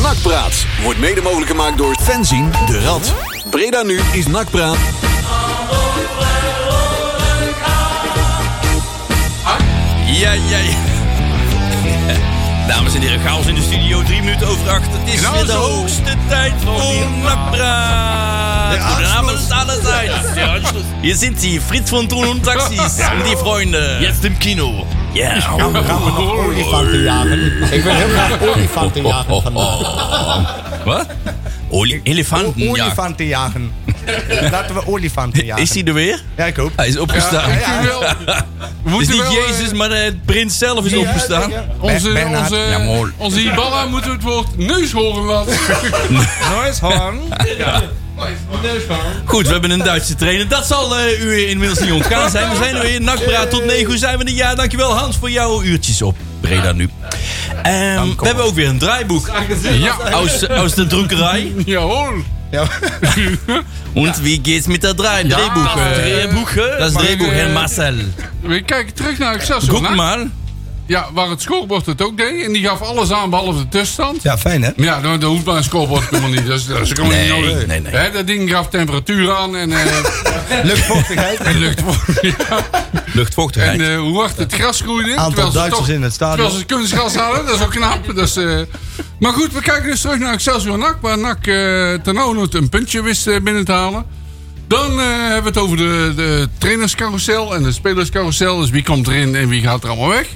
Nakpraat wordt mede mogelijk gemaakt door fanzine De Rad. Breda nu is Nakpraat. Ja, ja, ja. Dames en heren, chaos in de studio. Drie minuten over acht. Het is Nou weer de zo. hoogste tijd voor Napra. De De Anschluss. namens aller tijd. Hier sind sie, Fritz von Thun und Taxis. Und die Freunde. Jetzt im Kino. Ja. gaan we nog olifanten jagen. Ik ben heel graag olifanten jagen vandaag. Oh. Wat? Oli elefanten, ja. Olifanten jagen. Laten we olifanten jagen. Is hij er weer? Ja, ik hoop. Hij is opgestaan. Ja, ja, wel. Het is Moeten niet wel, eh, Jezus, maar eh, het prins zelf is opgestaan. Onze, Bernhard. onze, Ja, mooi. onze Ibarra moeten we het woord neus horen laten. Goed, we hebben een Duitse trainer. Dat zal eh, u inmiddels niet ontgaan zijn. We zijn er weer. Nachtpraat tot 9 uur zijn we er. Ja, dankjewel Hans voor jouw uurtjes op. Breda nu. Ehm, we hebben ook weer een draaiboek. Ja. Aus, aus de dronkerij. ja hoor. Ja, En wie geht's met dat draai? Drehboek. dat is eh, drehboek, hè. Dat is Maar, drehboek, eh, en Marcel. We kijken terug naar Excelsior. Goed hè? maar. Ja, waar het scorebord het ook deed. En die gaf alles aan behalve de tussenstand. ja fijn hè? Ja, nou, dan dat hoeft bij een scorebord helemaal niet. Dat is, dat is helemaal Nee, niet nodig. nee, nee. Hè, dat ding gaf temperatuur aan en, eh Luchtvochtigheid. en lucht. Ja. En Luchtvochtigheid. eh, hoe hard het gras groeide. Aantal terwijl ze Duitsers in het stadion. Terwijl ze het kunstgras hadden, dat is ook knap. Dat is, eh, maar goed, we kijken dus terug naar Excelsior NAC. Waar NAC eh ten nood een puntje wist eh, binnen te halen. Dan eh, hebben we het over de, de trainerscarousel en de spelerscarousel. Dus wie komt erin en wie gaat er allemaal weg.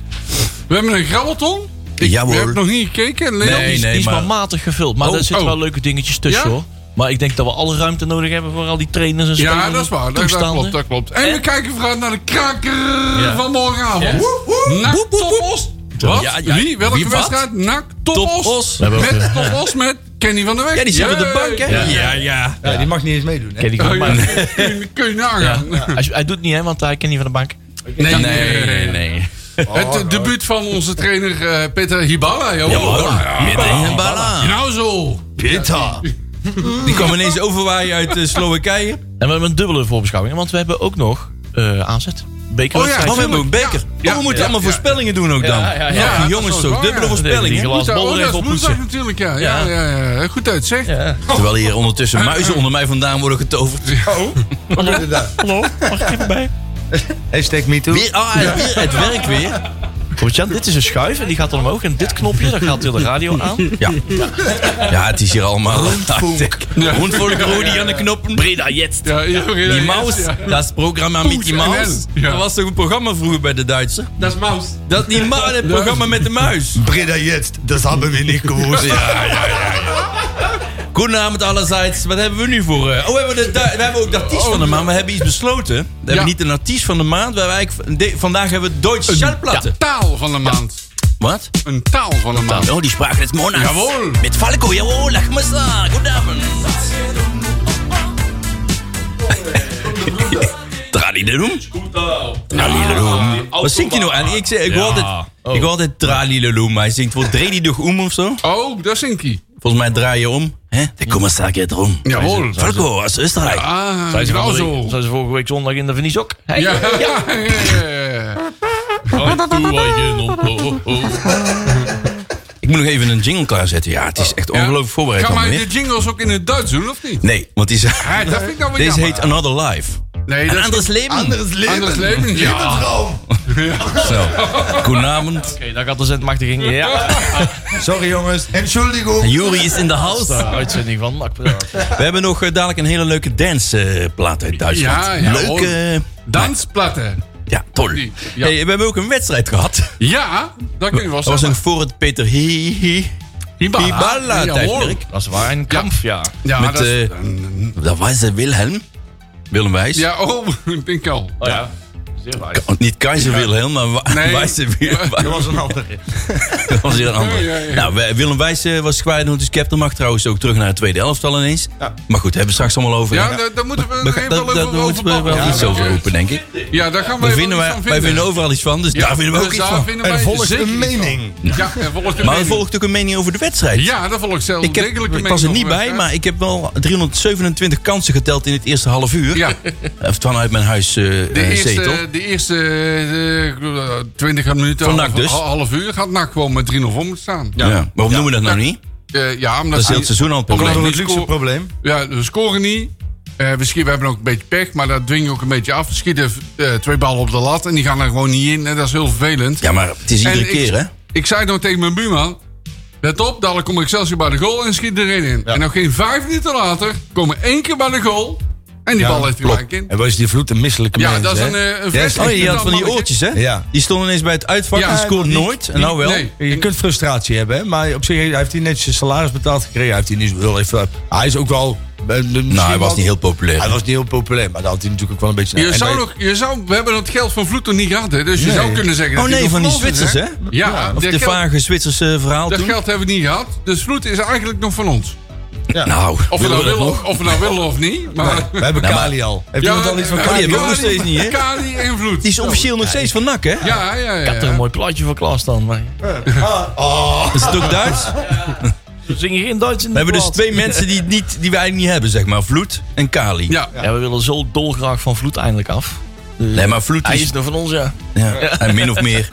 We hebben een grabbelton. Ik Jawohl. heb nog niet gekeken. Leon? Nee, die, is- nee, die is maar, maar- matig gevuld. Maar Oh, daar zitten oh. wel leuke dingetjes tussen Ja? hoor. Maar ik denk dat we alle ruimte nodig hebben voor al die trainers en spelers. Ja, en dat is waar. Dat, dat toestanden. klopt, dat klopt. En we En- kijken vooruit naar de kraker Ja. van morgenavond. Ja. Woe, woe. NAC Woep, woep, woep. Topos. Wat? Ja, ja. Wie? Welke Wie, wat? wedstrijd? NAC Topos. Top Os. We hebben ook, Met Topos met Kenny van der Weg. Ja, die zit op de bank, hè? Yay. Ja, ja. Ja, die mag niet eens meedoen hè? Ken die van de Oh, bank. ja. Kun je- Kun je nagaan. Als je- hij doet niet hè, want hij kent niet van de bank. Nee, nee, nee. nee. Het debuut van onze trainer eh, Peter Hibala. joh. Ja, hoor. Met een Ja, bala. Nou zo. Pitta. Die kwam ineens overwaaien uit eh, Slowakije. En we hebben een dubbele voorbeschouwing, want we hebben ook nog eh aanzet. Oh, Bekerwedstrijd. ja, Oh, we hebben ook beker. Ja. Oh, we moeten Ja. allemaal voorspellingen doen ook dan. Ja, ja, ja. Ach, Ja, jongens dat is wel toch, dubbele waar. Die voorspellingen. glas- Moet daar- ballen oh, even dat is woensdag oppoetsen. natuurlijk, ja. Ja, ja, ja. Goed uit, zeg. Ja. Terwijl hier ondertussen muizen onder mij vandaan worden getoverd. Wat is het daar? Hallo, mag ik even bij? Hashtag me too. Weer, ah, weer het werk weer. Goed, Jan, dit is een schuif en die gaat dan omhoog. En dit knopje, daar gaat heel de radio aan. Ja. ja, het is hier allemaal. Rundfunk, Rudi aan de knoppen. Breda, jetzt. Ja, ja, ja, Die ja, Maus, ja. dat is het programma met die Poes en Maus. hen. Ja. Dat was toch een programma vroeger bij de Duitsers? Dat is Maus. Dat die ma het programma met de muis. Breda jetzt, dat hebben we niet gewonnen. Goedenavond allerzijds. Wat hebben we nu voor... eh, Oh, we hebben, de, du- we hebben ook de artiest van de maand. We hebben iets besloten. We Ja. hebben niet een artiest van de maand. We hebben eigenlijk, de- vandaag hebben we Duitse Schallplatte. Taal van de maand. Wat? Een taal van de maand. Oh, die spraken des Monats. Jawohl. Met Falco, jawohl. Lach me staan. Goedenavond. Tralileloem. Tralileloem. Wat zingt hij nou aan? Ik, zeg- ik hoor altijd, ik hoor altijd tralileloem. maar Hij zingt voor Draai die doch om of zo. Oh, daar zingt hij. Volgens mij draai je om. Hè? De commissaris gaat erom. Jawohl. Falco, als Oostenrijk. Ah, Zijn ze, nou vorige zo. week- zijn ze vorige week zondag in de Venice ook? Hey, Ja, ja, ja. Ik moet nog even een jingle klaarzetten. Ja, het is echt ongelooflijk voorbereid Gaan allemaal wij weer. de jingles ook in het Duits doen, of niet? Nee, want die is- Ja, dat vind ik nou weer deze jammer. heet Another Life. Nee, Een dat anders leven. Anders leven, ja. Zo. Goedenavond. Oké, daar gaat de zendmachtiging. Ja, Sorry jongens. Entschuldigung. Jury is in de house. de uitzending van Nakpraat. We hebben nog eh, dadelijk een hele leuke danceplaat uit Duitsland. Ja, ja, Leuk. hoor. eh, Dansplatten. ja, toll. Ja. Hey, we hebben ook een wedstrijd gehad. Ja, dat kun je wel Dat was zeggen. een voor het Peter Hi- Hi- Hibala Ja, tijdperk. Dat is waar, een kampf, ja. Ja, Met, dat is- eh, dat was eh, Wilhelm. Willem Wijs. ja, oh, ik denk al. Oh ja, zeer waar. Oh, Niet Keizer Wilhelm, maar Wa- Nee. Wijze Wilhelm. Dat was een andere. Dat was heel anders. Ja, ja, ja. Nou, we- Willem Wijs eh, was kwijt, dus captain mag trouwens ook terug naar het tweede elftal ineens. Maar goed, daar hebben we het straks allemaal over. Ja, daar- daar moeten we Be- nog be- even dat- wel Daar over moeten we wel babbelen. iets Ja, over ja. roepen, denk ik. Ja, daar gaan Daar wij vinden wel wij, iets van wij vinden overal iets van, dus Ja, daar vinden we ook dus iets daar van. vinden Er wij volgt zeker een iets van. mening. Ja, er volgt een Maar er mening. volgt ook een mening over de wedstrijd. Ja, daar volgt zelfs Ik, heb- degelijk een ik mening was er niet over. bij, maar ik heb wel 327 kansen geteld in het eerste half uur. Ja. Of vanuit mijn eh, huiszetel. De zetel. eerste, de eerste eh, 20 minuten, Van half, NAC dus. half uur, gaat NAC gewoon met 3-0 voor moeten staan. ja. Waarom doen we dat nou niet? Eh, ja, omdat Dat is heel hij- het seizoen al een omdat probleem. hij Een luxe scoort- probleem. Ja, we scoren niet. Eh, we, schieten, we hebben ook een beetje pech, maar dat dwing je ook een beetje af. We schieten eh, twee ballen op de lat en die gaan er gewoon niet in. En dat is heel vervelend. Ja, maar het is iedere En keer, ik, hè? Ik zei dan tegen mijn buurman... Let op, dadelijk kom Excelsior bij de goal en schiet erin in. En nog geen vijf minuten later komen één keer bij de goal... en die bal heeft gelijk in. En was die vloed een misselijke Ja, mens, dat is hè? een, eh, een Yes. vest. Oh, je had van die mannetje. oortjes, hè? Ja. Die stonden ineens bij het uitvak. Ja, die scoort die- nooit. En nou wel. nee. Je kunt frustratie hebben, hè? maar op zich hij heeft hij netjes zijn salaris betaald gekregen. Hij, heeft hij, niet zo heel even, hij is ook wel... eh, misschien Nou, hij wel- was niet heel populair. Hij was niet heel populair, maar dat had hij natuurlijk ook wel een beetje... Je en zou dat- nog, je zou, we hebben dat geld van Vloed nog niet gehad, hè? Dus je Nee. zou kunnen zeggen... Oh dat hij nee, nog van die verlost is, Zwitsers, hè? Ja, Of dat, de geld, vage Zwitserse verhaal dat toen. geld hebben we niet gehad. Dus Vloed is eigenlijk nog van ons. Nou, Of we, nou dat willen, of we nou willen of niet. Maar, We hebben Nou, maar- Kali al. Heeft iemand al iets van eh, Kali? Kali? Die hebben we ook nog steeds niet, hè? Kali en Vloed. Die is officieel nog steeds van NAC, hè? Ja, ja, ja. Ik had er een ja. mooi plaatje voor Klaas dan. Maar Is het ook Duits? we zingen geen Duits in We de hebben dus plaat. twee mensen die, het niet, die we eigenlijk niet hebben, zeg maar. Vloed en Kali. Ja. Ja, we willen zo dolgraag van Vloed eindelijk af. Dus Nee, maar Vloed Hij is... is nog van ons, ja. Ja, en min of meer.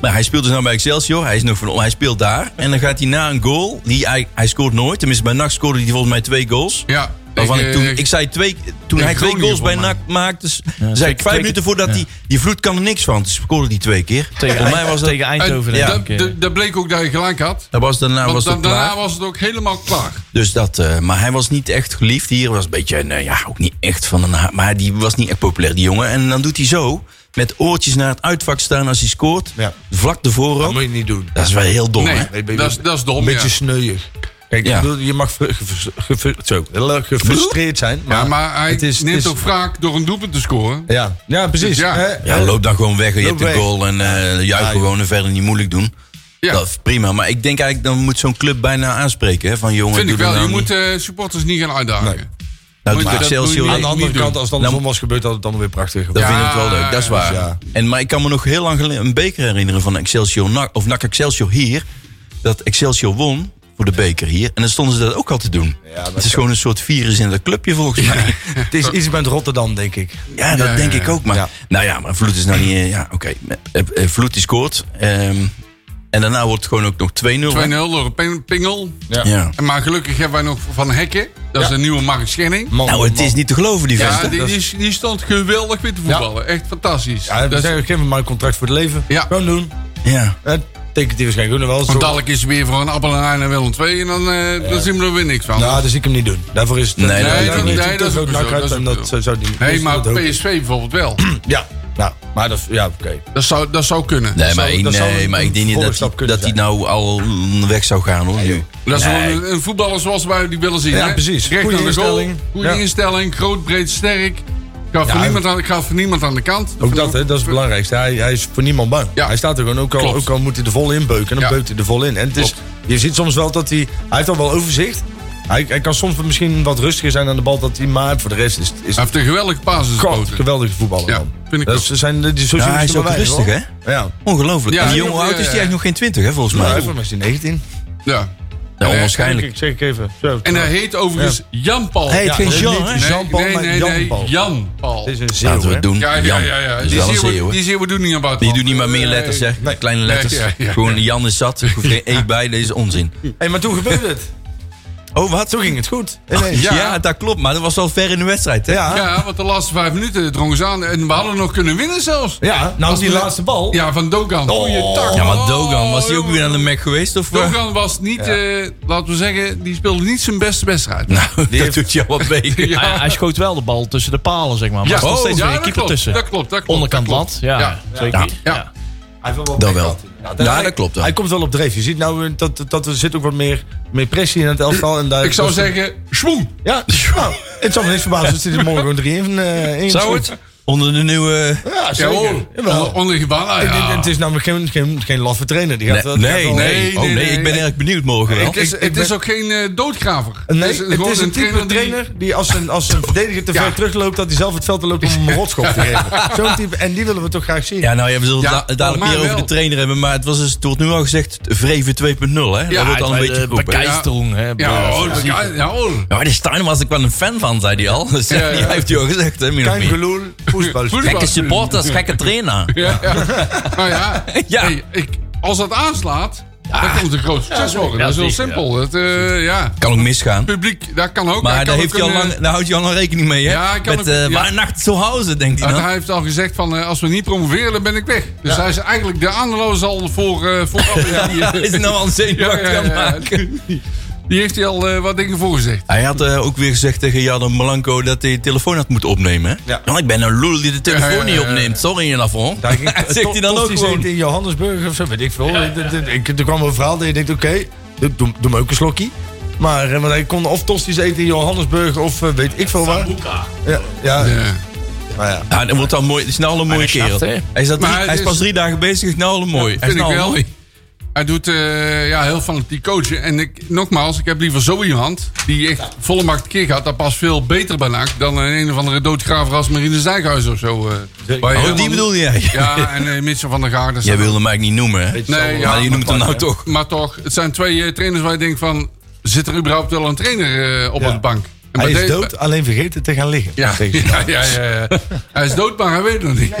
Maar hij speelt dus nou bij Excelsior. Hij, is nog van, hij speelt daar. En dan gaat hij na een goal. Die, hij, hij scoort nooit. Tenminste, bij NAC scoorde hij volgens mij twee goals. ja. Waarvan ik, eh, toen, ik zei twee, toen hij twee Groningen goals bij volgens NAC maakte, s- zei ik twee vijf keer- minuten voordat die, die vloed kan er niks van. Dus scoorde die twee keer. Tegen, Volgens mij was dat, tegen En Eindhoven. dat- denk ik, eh. dat- Dat bleek ook dat je gelijk had. dat was daarna Want was dat dan- daarna klaar. was het ook helemaal klaar. Dus dat, eh, maar hij was niet echt geliefd hier. Was een beetje, nou ja, ook niet echt van een... ha- Maar die was niet echt populair, die jongen. En dan doet hij zo, met oortjes naar het uitvak staan als hij scoort. Ja. Vlak ervoor Dat ook. moet je niet doen. Dat is wel heel dom, hè? Nee, dat is- dat is Een dom, ja. beetje sneuig. Kijk, Ja. ik bedoel, je mag ver- gefrus- gefrus- zo, gefrustreerd zijn. Maar Ja, maar hij het is- het neemt is- ook vaak door een doelpunt te scoren. Ja, ja precies. Ja. Hè? Ja, loop dan gewoon weg. Je hebt de weg. goal en eh juich Ja, joh. gewoon en verder niet moeilijk doen. Ja. Dat is prima. Maar ik denk eigenlijk, dan moet zo'n club bijna aanspreken. Hè, van jongen, Vind ik doe er wel. Je nou niet. moet eh, supporters niet gaan uitdagen. Nou, moet- doet dat Excelsior moet je Aan de niet andere doen. kant, als het dan zondags gebeurt, dat het dan weer prachtig. Dat Ja. vind ik wel leuk, dat is waar. ja. En, maar ik kan me nog heel lang geleden een beker herinneren van Excelsior NAC, of NAC Excelsior hier. Dat Excelsior won voor de beker hier. En dan stonden ze dat ook al te doen. dat het is gewoon een soort virus in dat clubje volgens mij. Het is iets met Rotterdam, denk ik. Ja, dat Ja, denk ja, ik ook. Maar, Ja. Nou ja, maar Vloed is nou niet... eh, Ja, oké. Eh, eh, Vloed die scoort. ehm, en daarna wordt het gewoon ook nog 2-0. hè? 2-0 door een ping- pingel. Ja. En Maar gelukkig hebben wij nog Van Hekken. Dat is een nieuwe Mark Schenning. Man, Nou, het man. is niet te geloven, die Oh, Ja, vent. hè? die, die, die stond geweldig weer te voetballen. Echt fantastisch. Ja, Dat we is- zeggen, geef hem maar een contract voor het leven. Ja. Gewoon doen. Ja. Hè, Tekent Eh, die waarschijnlijk ook nog wel. Zo. Want dadelijk is het weer voor een appel en een ei naar Willem 2. En dan, eh, dan zien we er weer niks van. Nou, dat zie ik hem niet doen. Daarvoor is het... Nee, nee, daarvoor dat- is het nee, te dat is groot ook zo, nak uit dat is en ook dat zo. zou die niet... Nee, dus maar dat hoop ik. PSV bijvoorbeeld wel. Ja, nou, maar dat... Ja, oké. Dat zou, dat zou kunnen. Nee, zou- maar, ik- dat zou nee, een- maar ik een denk niet dat, voorstap die- kunnen dat hij nou al weg zou gaan, hoor. nu. Dat is Nee. gewoon een, een voetballer zoals wij die willen zien. Ja, hè? precies. Recht Goeie aan de instelling. goal. Goede Ja. instelling. Groot, breed, sterk. Gaat voor, Ja. niemand aan, gaat voor niemand aan de kant. Ook dat, hè, dat is het belangrijkste. Hij, hij is voor niemand bang. Ja. Hij staat er gewoon, ook al, Klopt. ook al moet hij er vol in beuken, dan Ja. beukt hij er vol in. En het is, je ziet soms wel dat hij, hij heeft al wel overzicht. Hij, hij kan soms misschien wat rustiger zijn aan de bal dat hij maakt. Voor de rest is, is Hij heeft een geweldige basis God, geweldige voetballer. Ja, man. vind ik dat ook. is- zijn de- die Ja, social hij is ook rustig, hè? Ja. Ongelooflijk. Ja, en die ja, jongen ja, oud is die ja. eigenlijk nog geen 20, hè, volgens Maar mij. hij is misschien 19. Ja. Ja, onwaarschijnlijk. Ik zeg ik even. Zo. En hij heet overigens Jan-Paul. Hij heet Ja, geen dat is Jean, niet hè? Nee, Jean-Paul, nee, maar nee, nee, Jan-Paul. Jan-Paul. Het is een Laten we zeeuw, het doen. Ja, ja, Jan. ja. ja. Dat is Die wel een zien we- zeeuw, hè? Die Eh, zien we doen niet aan buiten. Die doet niet maar meer letters, Nee. zeg. Kleine letters. Ja, ja, ja. Gewoon Jan is zat. Er hoeft geen E bij, dat is onzin. Hé, maar toen gebeurde het. Oh, wat? Toen ging het goed. Ineens. Ja. Ja. dat klopt. Maar dat was wel ver in de wedstrijd, hè? Ja. Ja, want de laatste vijf minuten drongen ze aan. En we hadden nog kunnen winnen zelfs. Ja, nou die we- laatste bal. Ja, van Dogan. Goeie tak. Ja, maar Dogan, Oh, was die ook weer aan de jongen. Mac geweest? Of, eh? Dogan was niet, eh, laten we zeggen, die speelde niet zijn beste wedstrijd. Nou, dat heeft- doet jou wat beter. Ja. Hij, hij schoot wel de bal tussen de palen, zeg maar. Maar Ja. er stond Oh, steeds ja, weer een dat keeper klopt, tussen. dat klopt, dat klopt, Onderkant dat lat, klopt. ja. Ja. Zeker. Ja. Ja. Hij heeft wel Dat pech wel. gehad. Ja, hij- dat klopt wel. Hij komt wel op dreef. Je ziet nou eh, dat, dat er zit ook wat meer, meer pressie in het elftal. En daar, Ik zou dat- zeggen, schwoen. Ja, nou, het zal me niks verbazen als hij er morgen gewoon 3-1 van, eh, in Zou schiet. het? Onder de nieuwe... Ja, Ja, zeker. hoor. Jawel. Onder- Onder Gibala, Ik denk, ja. Het is namelijk geen, geen, geen laffe trainer. Die gaat, Nee, wel- die gaat nee, wel- nee. Oh, nee, nee, nee. ik ben erg benieuwd morgen wel. Ik- ik- ik het is ben- ook geen eh, doodgraver. Nee, het is, het gewoon is een type die- trainer die als een, als een verdediger te ver Ja. terugloopt... dat hij zelf het veld te loopt om hem een rotschop te geven. Zo'n type. En die willen we toch graag zien. Ja, nou ja, we zullen het Ja, da- dadelijk maar meer over wel. de trainer hebben. Maar het, was dus, het wordt nu al gezegd Vreven 2.0, hè? dat wordt al een beetje geroepen. Ja, Bekijsterung, hè. Ja, hoor. Ja, ja, hoor. maar die Stein was ik wel een fan van, zei hij al. Dus ja, Ja, ja. die heeft hij al gezegd, hè, min of Kein meer. geloel, voetbal. Voetbal. Gekke supporters, gekke trainer. Ja, ja. Nou ja, Ja. hey, ik, als dat aanslaat, Dat kan een groot succes worden. dat is heel zeker, simpel. Het, eh, ja. Kan ook misgaan. Publiek, dat kan ook. Maar Hij daar, kan heeft ook hij een, al eh, lang, daar houdt hij al lang rekening mee, hè? Ja, hij kan Met ook- eh, ja. waar nacht zo houden, denkt hij Want dan. hij heeft al gezegd van eh, als we niet promoveren, dan ben ik weg. Dus hij is eigenlijk de aanloos al voor, eh voor Ja, is hij nou al een zenuwachtig Ja, ja, aan het ja. maken? Die heeft hij al eh, wat dingen voor gezegd. Hij had eh, ook weer gezegd tegen Jadon Blanco dat hij de telefoon had moeten opnemen. hè? Ja. Nou, ik ben een lul die de Ja, telefoon ja, ja, niet ja. opneemt. Sorry, in afond. Daar ging- Zegt hij Tof- dan ook Tosti gewoon. zegt in Johannesburg of zo, weet ik veel. Dit- dit- ik- Er kwam een verhaal dat je denkt, oké, doe, doe, doe me ook een slokje. Maar eh, want hij kon of tosti's eten in Johannesburg of eh, weet ik veel waar. Ja, ja, Ja. Maar ja. Ja, dat wordt dan mooi. Het is nou al een mooie kerel. Hij is, dat Maar drie- hij het is pas is- drie dagen bezig. Is nou al een mooi. hij Vind is ik nou al wel. Oh, mooi. Hij doet eh, ja, heel fanatiek coachen. En ik, nogmaals, ik heb liever zo iemand die echt volle macht keer gaat. Dat past veel beter bij NAC dan een, een of andere doodgraver als Marine Zijkhuis of zo. eh. Waar je Oh, helemaal- die bedoelde jij? Ja, en eh Mitchell van der Gaarden. Jij wilde hem eigenlijk niet noemen, hè? Nee, ja, maar je noemt hem nou hè? toch. Maar toch, het zijn twee eh, trainers waar je denkt van... Zit er überhaupt wel een trainer eh, op Ja. de bank? En bij Hij is de- dood, alleen vergeten te gaan liggen. Ja, Tegen- ja, ja, ja, ja. Hij is dood, maar hij weet het nog niet.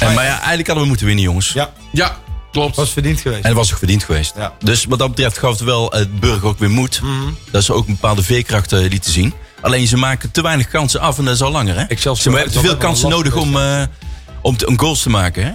En, maar ja, eigenlijk hadden we moeten winnen, jongens. ja Ja, klopt. was verdiend geweest. En dat was ook verdiend geweest. Ja. Dus wat dat betreft gaf het wel het burger ook weer moed. Dat ze ook een bepaalde veerkracht eh, lieten zien. Alleen ze maken te weinig kansen af en dat is al langer. Hè? Excelsior ze hebben had te wel veel wel kansen een lastige nodig om, eh, om, te- om goals te maken. Hè?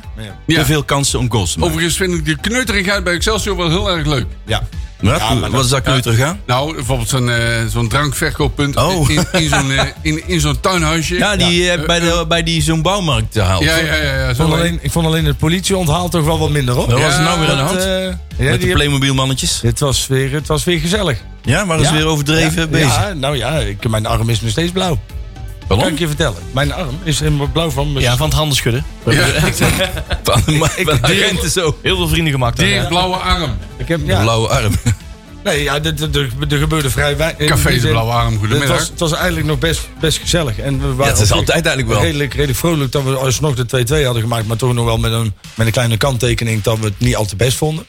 Ja. Te veel kansen om goals te maken. Overigens vind ik de kneuterigheid bij Excelsior wel heel erg leuk. Ja. Maar dat- wat is dat kneuter gaan? Nou, bijvoorbeeld zo'n eh, zo'n drankverkooppunt Oh. in, in zo'n eh, in, in zo'n tuinhuisje. Ja, die eh, bij, de, bij die zo'n bouwmarkt te halen. ja, ja, ja, ja, Ik zo vond, alleen, ik vond alleen het politieonthaal toch wel wat minder op. Wat Ja, was er nou weer aan de hand? dat, eh, ja, Met die de heb- Playmobil mannetjes. het, was weer, het was weer gezellig. Ja, maar dat is Ja. weer overdreven ja, bezig. Ja, nou ja, ik, mijn arm is nog steeds blauw. Kan ik je vertellen. Mijn arm is helemaal blauw van mijn... Ja, van het handen schudden. Van, maar, van de agenten zo. Heel veel vrienden gemaakt. Die daarna. blauwe arm. Ik heb, ja. Blauwe arm. Nee, ja, dit- dit- er er gebeurde vrij weinig. Café In die de zin, Blauwe Arm, goedemiddag. Het was, het was eigenlijk nog best, best gezellig. En we waren Ja, het is op zich altijd eigenlijk wel. Redelijk, redelijk vrolijk dat we alsnog de 2-2 hadden gemaakt. Maar toch nog wel met een, met een kleine kanttekening dat we het niet al te best vonden.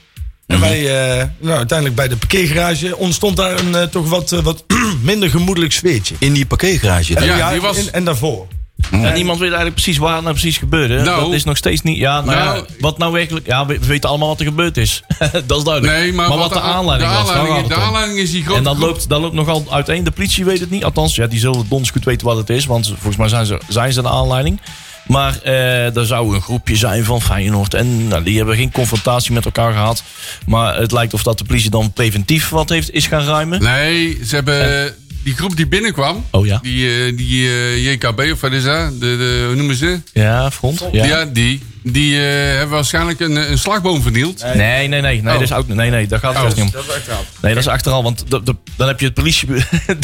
En wij, eh, nou, uiteindelijk bij de parkeergarage ontstond daar een eh, toch wat, eh, wat minder gemoedelijk sfeertje. In die parkeergarage. daar. Ja, die was- en, en daarvoor. En niemand weet eigenlijk precies waar het nou precies gebeurde. Nou. dat is nog steeds niet. Ja, nou, ja, Nou. wat nou werkelijk. Ja, we we weten allemaal wat er gebeurd is. dat is duidelijk. Nee, maar, wat, de aanleiding de was. daar aanleiding, gaat de het om. aanleiding is die grote En dat groep- loopt, dat loopt nogal uiteen. De politie weet het niet. Althans, ja, die zullen dons goed weten wat het is. Want ze- volgens mij zijn ze, zijn ze de aanleiding. Maar eh, er zou een groepje zijn van Feyenoord. En nou, die hebben geen confrontatie met elkaar gehad. Maar het lijkt of dat de politie dan preventief wat heeft, is gaan ruimen. Nee, ze hebben... Die groep die binnenkwam, Oh ja. die, eh, die eh, JKB of wat is dat? De, de, hoe noemen ze? Ja, front. Ja. Ja, die. Die eh, hebben waarschijnlijk een, een slagboom vernield. Nee, nee, nee. Nee, dat is ook, nee, nee, daar gaat het Oh. juist niet om. Nee, dat is achteraf, want de- de- dan heb je het politie...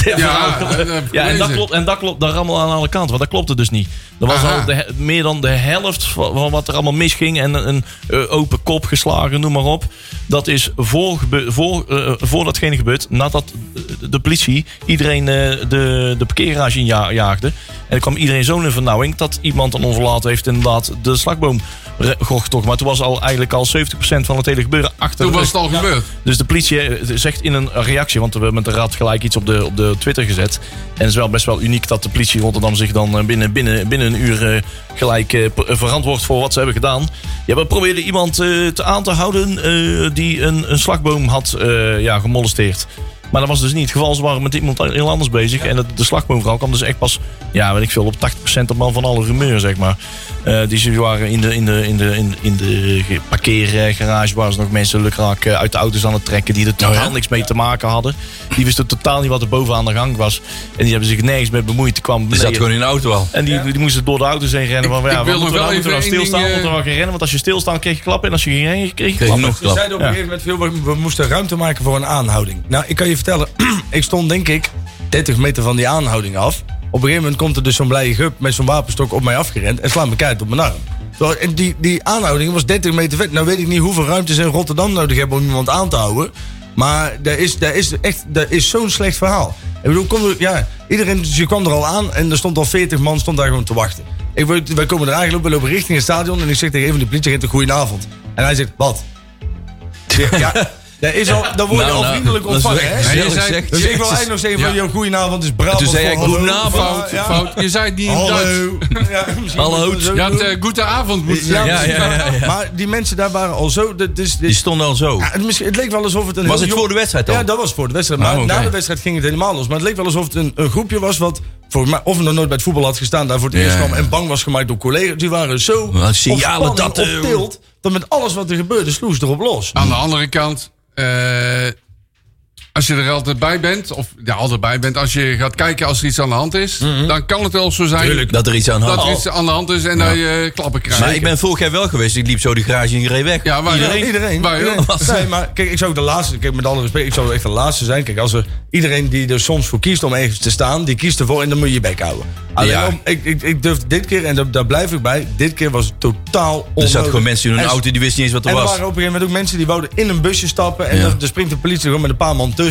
Ja, dat heb ik ja en, dat gelezen. klopt, en dat klopt, dat rammel aan alle kanten, want dat klopte dus niet. Er was Aha. al de he- meer dan de helft van, van wat er allemaal misging en een, een, eh, open kop geslagen, noem maar op. Dat is voor, gebe- voor, eh, voor datgene gebeurd, nadat eh, de politie iedereen eh, de, de parkeergarage in ja- jaagde. En er kwam iedereen zo'n in vernauwing dat iemand aan onverlaat heeft inderdaad de slagboom re- gocht toch. Maar toen was al eigenlijk al 70% van het hele gebeuren achter Toen de was rug. het al gebeurd. Dus de politie eh, zegt in een reactie, want we hebben met de raad gelijk iets op de, op de Twitter gezet. En het is wel best wel uniek dat de politie Rotterdam zich dan eh, binnen, binnen, binnen een uur eh, gelijk eh, p- eh, verantwoordt voor wat ze hebben gedaan. Ja, we probeerden iemand eh, te aan te houden eh, die een, een slagboom had eh, ja, gemolesteerd. Maar dat was dus niet het geval. Ze waren met iemand heel anders bezig. En het- de slagboomvrouw kwam dus echt pas, ja, weet ik veel, op 80% op man van alle rumeur, zeg maar. Eh, die ze waren in de, in de, in de, in, in de ge- parkeergarage waren ze nog mensen lukraak eh, uit de auto's aan het trekken. Die er Oh totaal niks mee te maken hadden. Die wisten totaal niet wat er bovenaan de gang was. En die hebben zich nergens mee bemoeid. Die kwam Die zat beneden. gewoon in de auto al. En die, die moesten door de auto's heen rennen. Van, ja, ik wil moeten nog we wel nou, moeten we even nou één stilstaan? ding, Moeten we eh, nou gaan rennen? Want als je stilstaan kreeg je klappen. En als je ging rennen kreeg je Kreeg klappen. nog Ze klap. zeiden op een gegeven moment, veel, we- we moesten ruimte maken voor een aanhouding. Nou, ik kan je vertellen, ik stond denk ik 30 meter van die aanhouding af. Op een gegeven moment komt er dus zo'n blije gup met zo'n wapenstok op mij afgerend en slaat me keihard op mijn arm. Terwijl- En die, die aanhouding was 30 meter weg. Nou weet ik niet hoeveel ruimte ze in Rotterdam nodig hebben om iemand aan te houden. Maar dat is, dat is, echt- dat is zo'n slecht verhaal. Ik bedoel, kom er, ja, iedereen je kwam er al aan en er stond al 40 man stond daar gewoon te wachten. Ik, word- wij komen eraan gelopen, we lopen richting het stadion en ik zeg tegen een van de politieagenten, goedenavond. En hij zegt, wat? Ja, ja, Dat, is al, dat wordt Nou, al nou, vriendelijk dat is ontvangen, echt hè? gezellig, Dus zeg. ik wil eigenlijk nog zeggen van, Ja. joh, goedenavond, is Brabant. Toen zei voor ik, hallo. goedenavond. Fout, Ja. fout. Je zei het niet in Duits. Hallo. Ja, misschien Hallo. moeten we zo Je had doen. eh goede avond moeten Ja, zeggen. ja, misschien ja, ja, wel. ja. Maar die mensen daar waren al zo... dat is- dit- Die stonden al zo. ja, het, misschien- het leek wel alsof het een Was heel het jong- voor de wedstrijd al? Ja, dat was voor de wedstrijd. Maar Oh, oké. na de wedstrijd ging het helemaal los. Maar het leek wel alsof het een, een groepje was wat voor mij, of nog nooit bij het voetbal had gestaan, daar voor het Ja, eerst kwam ja. en bang was gemaakt door collega's. Die waren zo Wat signalen op spanning, dat, eh, op tilt, dat met alles wat er gebeurde sloeg ze erop los. Aan de andere kant, eh, als je er altijd bij bent, of ja, altijd bij bent, als je gaat kijken als er iets aan de hand is, dan kan het wel zo zijn Dat er iets aan dat had. er iets aan de hand is en dat je eh, klappen krijgt. Oh. Maar ik ben vorig jaar wel geweest. Ik liep zo de garage in reed weg. Ja, maar- Iedereen. Iedereen. Waar, joh? iedereen. Nee, maar kijk, ik zou ook de laatste, kijk, met alle respect, ik zou echt de laatste zijn. Kijk, als er iedereen die er soms voor kiest om ergens te staan, die kiest ervoor en dan moet je je bek houden. Alleen, Ja. om- ik, ik, ik durf dit keer, en daar, daar blijf ik bij, dit keer was het totaal onnodig. Er zaten gewoon mensen in hun En- auto die wisten niet eens wat En er er was. waren op een gegeven moment ook mensen die wouden in een busje stappen. En Ja. dan, dan springt de politie gewoon met een paar man tussen.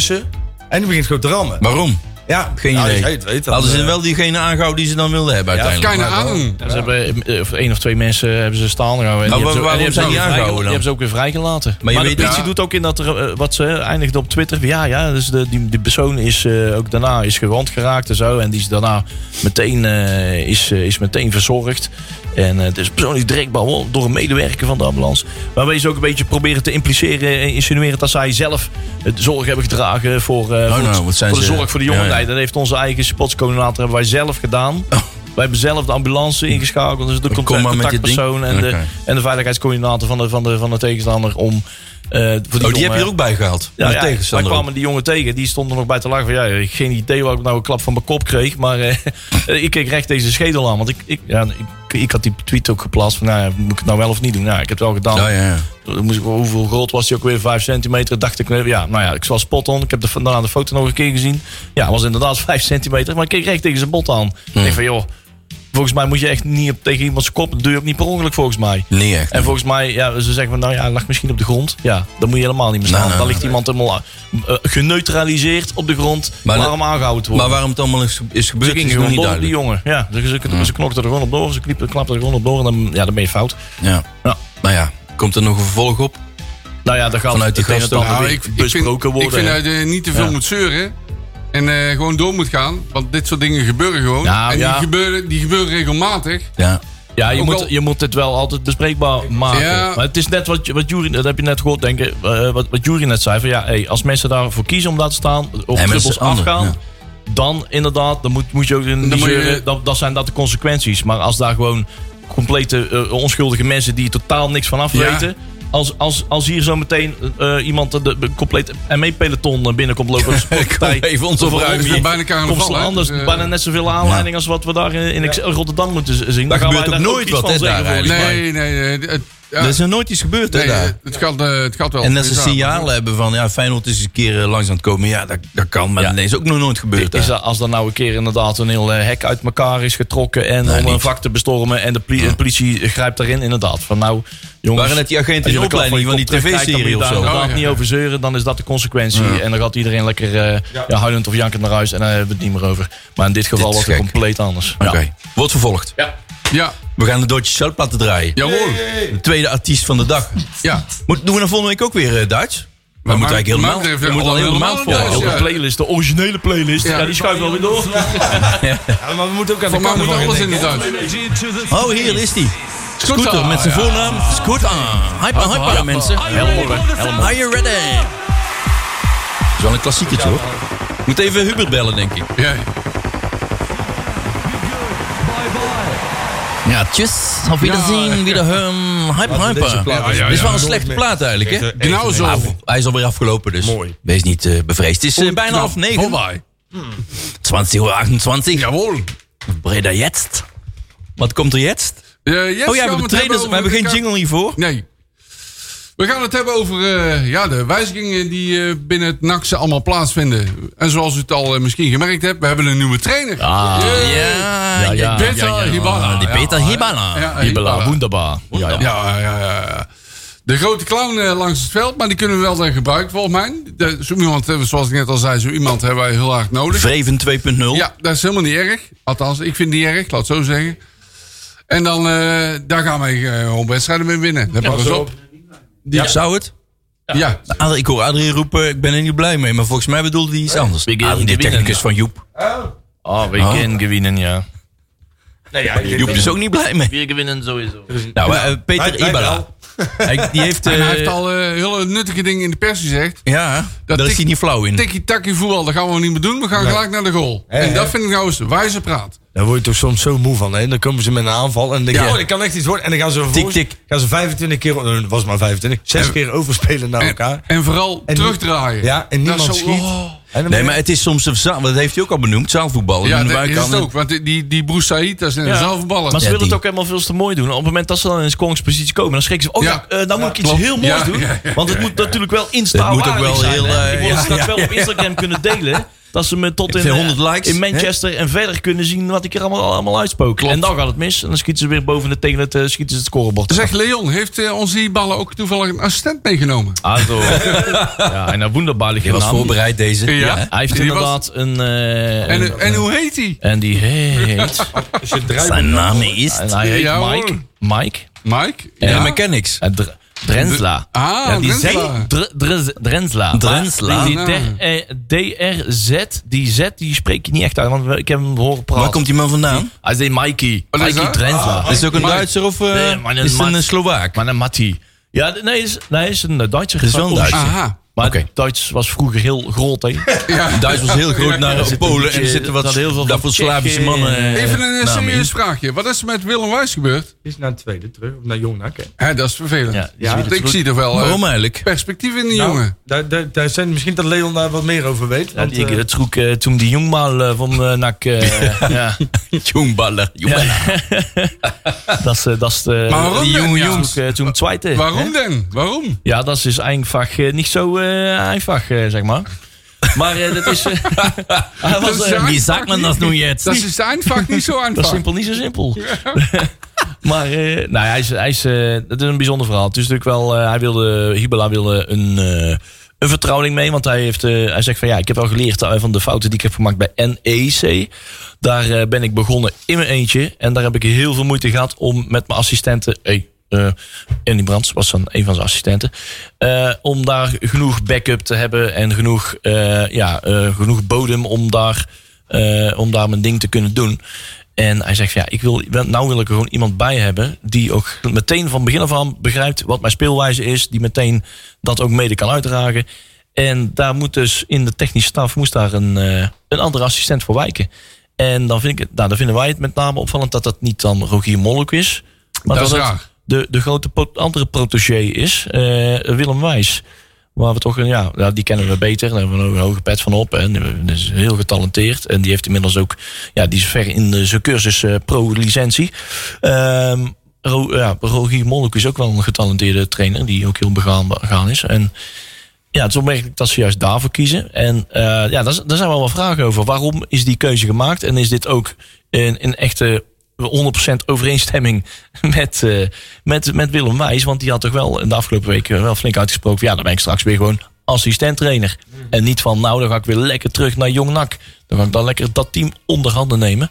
En die begint gewoon te rammen. Waarom? ja, Geen nou, als idee. jij het weet, dan, Hadden ze eh, wel diegene aangehouden die ze dan wilden hebben uiteindelijk. Keine maar wel. aan. Ja, ze hebben eh, of één of twee mensen hebben ze staan gehouden. En Nou, hebben ze- waarom en hebben ze zijn ook die weer vrijge- aangehouden dan? Die hebben ze ook weer vrijgelaten. Maar Maar, je de weet- politie ja. doet ook in dat er, eh, wat ze eindigde op Twitter. Ja, ja, dus de, die, die persoon is eh, ook daarna is gewond geraakt en zo. En die is daarna meteen, eh, is, eh, is meteen verzorgd. En eh dus persoon is direct behandeld door een medewerker van de ambulance. Waarbij ze ook een beetje proberen te impliceren en insinueren dat zij zelf het zorg hebben gedragen voor, eh, voor, het- nou, wat zijn voor de ze- zorg voor de Ja, ja. Oh. jongeren. Dat heeft onze eigen spotscoördinator hebben wij zelf gedaan. Wij hebben zelf de ambulance ingeschakeld. Dus de Kom contact- maar met je ding. contactpersoon en, de, Oké. en de veiligheidscoördinator van de, van de, van de tegenstander om... eh, voor Oh, die heb jongen- je er ook bij gehaald. Ja, Met ja, wij tegenstander. kwamen die jongen tegen. Die stond er nog bij te lachen. Van, ja, ik geen idee waar ik nou een klap van mijn kop kreeg. Maar eh, ik kreeg recht deze schedel aan. Want ik, ik, ja, ik, ik had die tweet ook geplaatst. Van, nou, ja, moet ik het nou wel of niet doen? Nou, ik heb het wel gedaan. Ja, ja, ja. Dan moest ik, hoeveel groot was hij ook weer? 5 centimeter. Dacht ik, ja, nou ja, ik was spot on. Ik heb de, daarna de foto nog een keer gezien. Ja, was inderdaad 5 centimeter. Maar ik keek recht tegen zijn bot aan. Ik denk van, joh, volgens mij moet je echt niet op, tegen iemands kop. Dat doe je ook niet per ongeluk, volgens mij. Nee, echt. En volgens mij, ja, ze zeggen van, nou ja, hij lag misschien op de grond. Ja, dan moet je helemaal niet meer staan. Nou, nou, dan ligt iemand helemaal eh, geneutraliseerd op de grond. Maar Maar dat- waarom aangehouden te Maar worden? waarom het allemaal is, is ze gebeurd, gingen is nog gewoon niet door op die duidelijk. jongen. Ja, ze, ze, ze knokten er gewoon op door. Ze kniep- klapten er gewoon op door. En dan, ja, dan ben je fout. Ja. Ja. Nou ja, komt er nog een vervolg op? Nou ja, dan gaat Vanuit die het een en gasten. ander Nou, weer ik, ik vind, besproken ik worden. vind dat je niet te veel moet zeuren. En eh, gewoon door moet gaan. Want dit soort dingen gebeuren gewoon. Nou, en ja. die, gebeuren, die gebeuren regelmatig. Ja. Ja, je Ook moet, al- je moet het wel altijd bespreekbaar maken. Ja. Maar het is net wat, wat Jury, dat heb je net gehoord, denk ik, eh, wat, wat Jury net zei. Van, ja, hey, als mensen daarvoor kiezen om daar te staan, op maar dat is druppels ander, afgaan, dan inderdaad, dan moet, moet je ook niet moet je- zeuren. Dat, dat zijn dat de consequenties. Maar als daar gewoon complete eh, onschuldige mensen die totaal niks van af Ja. weten... Als, als, als hier zo meteen eh, iemand de, de compleet ME-peloton binnenkomt lopen... als sportpartij, even ons of vooruit. Romy, Het is bijna carnaval, komt slaan, hè? anders Dus, eh, bijna net zoveel aanleiding als wat we daar in, in Excel Rotterdam moeten z- zien. Daar Dan gaan gebeurt wij ook daar nooit iets wat, van hè, zeggen, daar volgens mij. Nee, nee, nee. eh, Het, ja, Er is nog nooit iets gebeurd, hè, nee, daar. het, gaat, eh, het gaat wel. Dus, En dat ze Ja. signalen hebben van, ja, Feyenoord is een keer eh, langs aan het komen. Ja, dat, dat kan, maar Ja. dat is ook nog nooit gebeurd. Is hè. dat, als er nou een keer inderdaad een heel eh, hek uit elkaar is getrokken en om een niet. vak te bestormen en de, poli- de politie grijpt daarin inderdaad. Van nou, jongens, Waren het die agenten als je in de klap opleiding je van die kop terugkrijgt, dan moet je TV-serie of daar zo? inderdaad Oh, ja. niet over zeuren, dan is dat de consequentie. En dan gaat iedereen lekker eh, ja, huilend of jankend naar huis en dan hebben we het niet meer over. Maar in dit geval Dit is was het gek. compleet anders. Oké, Ja. wordt vervolgd. Ja, We gaan de Duitse Zout laten draaien. jawohl. De tweede artiest van de dag. Ja. Moet, doen we dan volgende week ook weer eh, Duits? We moeten eigenlijk maar- maar- helemaal, we moeten al helemaal helemaal vol. Duits, Ook ja. de playlist, de originele playlist, Ja. ja, die schuift wel weer door. Ja, maar we moeten ook aan de Voor mij moet carnaval alles in denken. de Duits. Oh, hier is die. Scooter, Scooter met zijn ja. voornaam. Scooter. Ah, Hyper, hyper, mensen. Are you ready? Dat is wel een klassiekertje, hoor. Moet even Hubert bellen, denk ik. Ja. Ja, tjus. Auf Wiedersehen, wiederhören. Hyper, Laten we deze hyper. plaat Ja, ja, Dit is ja. wel een slechte plaat eigenlijk, hè? Genau zo. Ah, hij is alweer afgelopen, dus Mooi. wees niet eh, bevreesd. Het is eh, bijna half negen. Voorbij. 20 uur 28. Jawohl. Breda jetzt. Wat komt er jetzt? Oh ja, we hebben, de trainers, we hebben geen jingle hiervoor. Nee. We gaan het hebben over eh, ja, de wijzigingen die eh, binnen het NACSE allemaal plaatsvinden. En zoals u het al eh, misschien gemerkt hebt, we hebben een nieuwe trainer. Ah, ja, Yay. ja, ja, Peter ja, ja. Hibala, Die ja. Peter Hibala. Ja, Hibala, Hibala. wunderbar. Ja, ja. Ja, ja, ja. De grote clown eh, langs het veld, maar die kunnen we wel dan gebruiken volgens mij. De, zo iemand, eh, zoals ik net al zei, zo iemand hebben wij heel hard nodig. Vreven 2.0. Ja, dat is helemaal niet erg. Althans, ik vind het niet erg, laat het zo zeggen. En dan, eh, daar gaan wij eh, gewoon wedstrijden mee winnen. Dat pakken we op. Zou het? Ja. Ad- Ik hoor Adrie roepen, ik ben er niet blij mee. Maar volgens mij bedoelde hij iets anders. Begin Adrie, de beginnen. technicus van Joep. Ah, we Oh. gaan gewinnen, ja. Joep is ook niet blij mee. We gewinnen sowieso. Nou, eh, Peter Wij- wij Ibala. Hij, die heeft... En eh, hij heeft al eh, hele nuttige dingen in de pers gezegd. ja, daar tik- is hij niet flauw in. Tikkie-takkie voetbal, dat gaan we niet meer doen. We gaan gelijk naar de goal. en hè. dat vind ik nou eens wijze praat. Daar word je toch soms zo moe van, hè? Dan komen ze met een aanval en dan denk je, oh, dat kan echt iets worden. En dan gaan ze vervolgens- Tik, tik. Gaan ze 25 keer, oh, dat was maar 25, 6 keer overspelen naar En, elkaar. en vooral En- terugdraaien. Ja, en Dat niemand is zo- schiet. oh. En dan Nee, maar het is soms een zaal, dat heeft hij ook al benoemd, zaalvoetbal. Ja, dat Aan de is buitenkant. het ook. Want die- die, die Broussaïtas en Ja. zelf ballen. Maar ze Ja, willen die- het ook helemaal veel te mooi doen. Op het moment dat ze dan in de scorespositie komen, dan schrikken ze. van, Oh ja, Ja. eh, nou moet ik iets klopt. heel moois Ja, doen. ja, ja, want het moet natuurlijk wel insta Het moet ook wel waardig zijn, heel, hè. eh, Ik wil het ja, straks ja, wel op Instagram kunnen delen. Dat ze me tot in, veel eh, 100 likes, in Manchester en verder kunnen zien wat ik er allemaal, allemaal uitspook. En dan gaat het mis. En dan schieten ze weer boven het, tegen het, eh, schieten ze het scorebord. Zeg Leon, heeft eh, onze Ibala ook toevallig een assistent meegenomen? Also, Ah, ja, en een wonderbaarlijke Je was naam. voorbereid deze. Ja. hè? Hij heeft Die was- inderdaad een... eh, En, een- eh, en hoe heet hij? en die heet... Zijn naam is... En hij heet Ja, hoor. Mike. Mike. Mike? En de mechanics. Eh, Dr- Drensla. Ah, Ja, die Drensla. zegt Dr- Dres- Drensla. Drensla. Maar Die, Nou. D- eh, DRZ, die Z, die spreek je niet echt uit, want we- ik heb hem horen praten. Waar komt die man vandaan? Hij zei Mikey. Wat is Ah. Mikey Oh, dat? Drensla. Is het ook een Maar- Duitser of eh, Nee, maar een is het Mat- een Slovaak? Maar een Matti. Ja, d- nee, is, nee, is een eh, Duitser. is wel een Duitser. Aha. Maar Oké. Duits was vroeger heel groot, hè. Duits was heel groot naar zit een Polen beetje- en er zitten wat dat heel veel van daarvoor Slavische Tsjechen. mannen. eh, Even een eh, namen in. serieus vraagje. Wat is er met Willem Wijs gebeurd? is naar het tweede terug, of naar Jong Nak, hè? Hè, dat is vervelend. Ja, die is weer Want ik terug. zie er wel eh, Waarom eigenlijk? perspectief in die Nou, jongen. Daar, daar, daar zijn misschien dat Leon daar wat meer over weet. Ja, want, die, eh, dat schrok eh, toen die jongmaal eh, van eh NAC... eh, ja. Jongballen. jongballen. Dat is, eh, dat is de... Maar waarom die dan? jonge Ja. jongens eh, toen het zweite. Waarom dan? Waarom? Ja, dat is dus einfach eh, niet zo eh, einfach, eh, zeg maar. Maar eh, dat is... eh, hij was, Dat is eh, ja- Wie sagt man das nun jetzt? Dat is het eindvak niet zo dat is einfach. simpel niet zo simpel. maar eh, nou, hij is, hij is, eh, het is een bijzonder verhaal. Het is natuurlijk wel... eh, hij wilde, Hibela wilde een, eh een vertrouweling mee. Want hij, heeft, eh, hij zegt van ja, ik heb wel geleerd eh, van de fouten die ik heb gemaakt bij NEC. Daar eh, ben ik begonnen in mijn eentje. En daar heb ik heel veel moeite gehad om met mijn assistenten... Hey, eh Andy Brands was dan een van zijn assistenten. eh, om daar genoeg backup te hebben en genoeg, eh, ja, eh, genoeg bodem om daar, eh, om daar mijn ding te kunnen doen. En hij zegt, van, ja, ik wil, nou wil ik er gewoon iemand bij hebben die ook meteen van begin af aan begrijpt wat mijn speelwijze is. Die meteen dat ook mede kan uitdragen. En daar moet dus in de technische staf moest daar een, eh, een andere assistent voor wijken. En dan, vind ik het, nou, dan vinden wij het met name opvallend dat dat niet dan Rogier Molleck is. Maar Dat is het raar. de, de grote pro- andere protégé is, eh, Willem Wijs. Waar we toch, een- ja, ja, die kennen we beter. Daar hebben we een hoge pet van op. En eh, die is heel getalenteerd. En die heeft inmiddels ook, ja, die is ver in de- zijn cursus eh, pro-licentie. Ehm, Ro, ja, Rogier Molleck is ook wel een getalenteerde trainer. Die ook heel begaan, begaan is. En ja, het is opmerkelijk dat ze juist daarvoor kiezen. En eh, ja, daar, z- daar zijn wel wat vragen over. Waarom is die keuze gemaakt? En is dit ook een, een echte 100% overeenstemming met, eh, met, met Willem Wijs? Want die had toch wel in de afgelopen weken wel flink uitgesproken. van, Ja, dan ben ik straks weer gewoon assistent trainer. En niet van, nou, dan ga ik weer lekker terug naar Jong NAC. Dan ga ik dan lekker dat team onder handen nemen.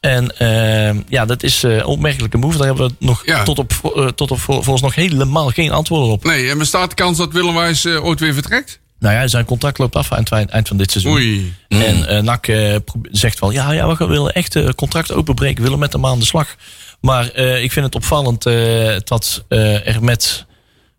En eh, ja, dat is eh, een opmerkelijke move. Daar hebben we nog Ja. tot op, vo- eh, tot op vo- volgens nog helemaal geen antwoorden op. Nee, en bestaat de kans dat Willem Wijs eh, ooit weer vertrekt? Nou ja, zijn contract loopt af eind, eind van dit seizoen. Oei. En eh, NAC eh, pro- zegt wel, ja, ja, we gaan- willen echt eh, contract openbreken. We willen met hem aan de slag. Maar eh, ik vind het opvallend eh, dat eh, er met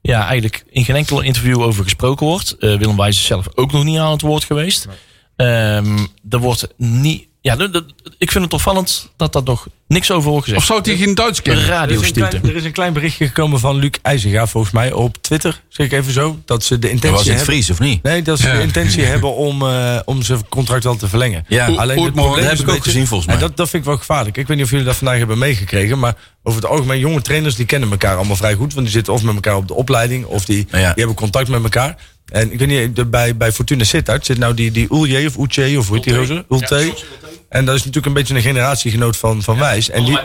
ja, eigenlijk in geen enkel interview over gesproken wordt. Eh, Willem Wijs is zelf ook nog niet aan het woord geweest. Ehm er wordt niet... Ja, de- de- ik vind het opvallend dat daar nog niks over wordt Of gezegd. zou hij geen Duits kennen? er, Radio is een klein, stilte. er is een klein berichtje gekomen van Luc IJzerga, volgens mij, op Twitter. Zeg ik even zo, dat ze de Dat intentie was in het hebben... Fries, of niet? Nee, dat ze Ja. de intentie hebben om, eh, om zijn contract wel te verlengen. Ja. O- Alleen ooit het maar, probleem dat is een heb ik ook beetje- gezien volgens en mij. dat, dat vind ik wel gevaarlijk. Ik weet niet of jullie dat vandaag hebben meegekregen, maar over het algemeen jonge trainers die kennen elkaar allemaal vrij goed, want die zitten of met elkaar op de opleiding of die, Ja. die hebben contact met elkaar. En ik weet niet, de- bij, bij Fortuna Sittard zit nou die, die Oelje of Oetje of hoe heet die gozer? Ulte. En dat is natuurlijk een beetje een generatiegenoot van, van Wijs. En die,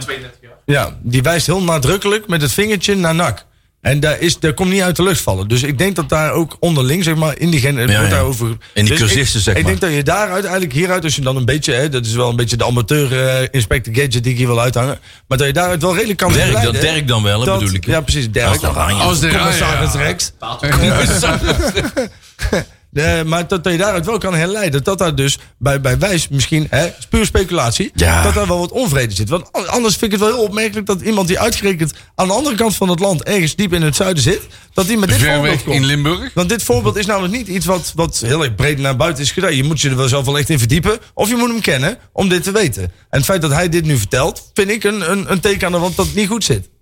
ja, die wijst heel nadrukkelijk met het vingertje naar NAC. En daar, is, daar komt niet uit de lucht vallen. Dus ik denk dat daar ook onderling, zeg maar, in die gen, het Ja, wordt ja. daarover. In die Dus ik- cursisten, zeg Ik maar. denk dat je daaruit, eigenlijk hieruit, als je dan een beetje, hè, dat is wel een beetje de amateur eh, inspector gadget die ik hier wil uithangen. Maar dat je daaruit wel redelijk kan Dirk dan, begeleiden Dirk dan wel, hè, dat- bedoel ik. Ja, precies. Als Dirk. de oranje. Als de Commissaris ja, ja. Rex. Eh, maar dat, dat je daaruit wel kan herleiden dat dat daar dus bij, bij wijs misschien, hè, is puur speculatie, Ja. dat daar wel wat onvrede zit. Want an- anders vind ik het wel heel opmerkelijk dat iemand die uitgerekend aan de andere kant van het land, ergens diep in het zuiden zit, dat die met dit Ver voorbeeld weg komt. in Limburg. Want dit voorbeeld is namelijk niet iets wat, wat heel erg breed naar buiten is gedaan. Je moet je er wel zelf wel echt in verdiepen. Of je moet hem kennen om dit te weten. En het feit dat hij dit nu vertelt, vind ik een, een, een teken aan de wand dat het niet goed zit.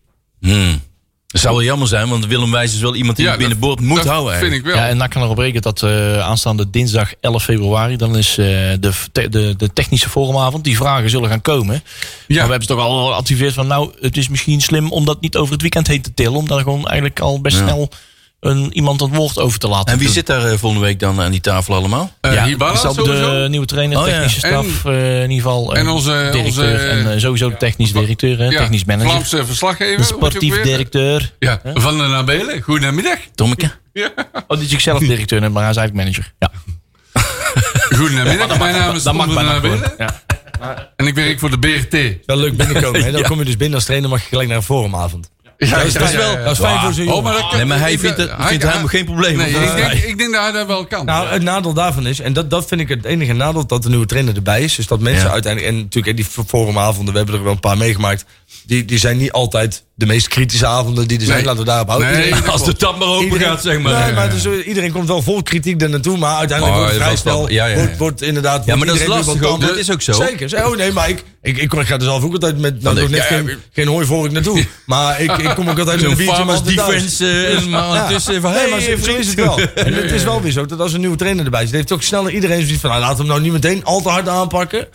Hmm. Dat zou wel jammer zijn, want Willem Wijs is wel iemand die Ja, het dat- binnenboord moet dat houden. vind eigenlijk. ik wel. Ja, en NAC kan erop rekenen dat eh, aanstaande dinsdag 11 februari... dan is eh, de, te- de, de technische forumavond. Die vragen zullen gaan komen. Ja. Maar we hebben ze toch al geadviseerd van... nou, het is misschien slim om dat niet over het weekend heen te tillen. Om daar gewoon eigenlijk al best snel een, iemand het woord over te laten En wie doen. zit daar eh, volgende week dan aan die tafel allemaal? Eh, ja, Hibala er zal sowieso. de nieuwe trainer, Oh, ja. technische staf eh, in ieder geval. eh, En onze- directeur onze- en eh, sowieso de technisch directeur, hè, Ja, technisch manager. Vlaamse verslaggever. de hoe moet je ook sportief weer- eh, directeur. Ja, van de Nabelen. Goedemiddag. Tommeke? Oh, die is zichzelf directeur, maar hij is eigenlijk manager. Ja, Goedemiddag, mijn naam is dat mag Tom van bijna de gewoon. Nabelen. Ja. En ik werk voor de BRT. Wel leuk binnenkomen. Hè? Dan kom je dus binnen als trainer, mag je gelijk naar een forumavond. Ja, dat is best wel- dat is fijn voor zo'n jongen. maar dat kan- Nee, maar hij ik- vindt het- vindt hij- helemaal geen probleem. Oh, Nee, Want, ik eh, denk, ik denk dat hij dat wel kan. Nou, het nadeel daarvan is, en dat, dat vind ik het enige nadeel dat de nieuwe trainer erbij is, is dat mensen Ja. uiteindelijk, en natuurlijk in die v- forumavonden, we hebben er wel een paar meegemaakt, die, die zijn niet altijd de meest kritische avonden die er zijn, Nee. laten we daarop houden. Nee, Iedereen- dat Als de tap maar open iedereen- gaat, zeg maar. Nee, maar het is, eh, iedereen komt wel vol kritiek daar naartoe, maar uiteindelijk Oh, wordt het dat vrij is wel- snel, ja, ja, ja. Wordt, wordt inderdaad... Ja, wordt maar dat is iedereen lastig weer wat ook, dat anders. is ook zo. Zeker. Ze- Oh nee, maar ik, ik, ik, ik ga er zelf ook altijd met, nou, Dan nog denk net ik, ja, geen, geen hooi voor ik naartoe, maar ik, ik kom ook altijd met een biertje farmers met de thuis. defense eh, en Oh, maar ondertussen van... Nee, Hey, maar zo, zo vriend. is het wel. En het is wel weer zo dat als een nieuwe trainer erbij zit, heeft ook sneller iedereen zoiets van: nou, laat hem nou niet meteen al te hard aanpakken.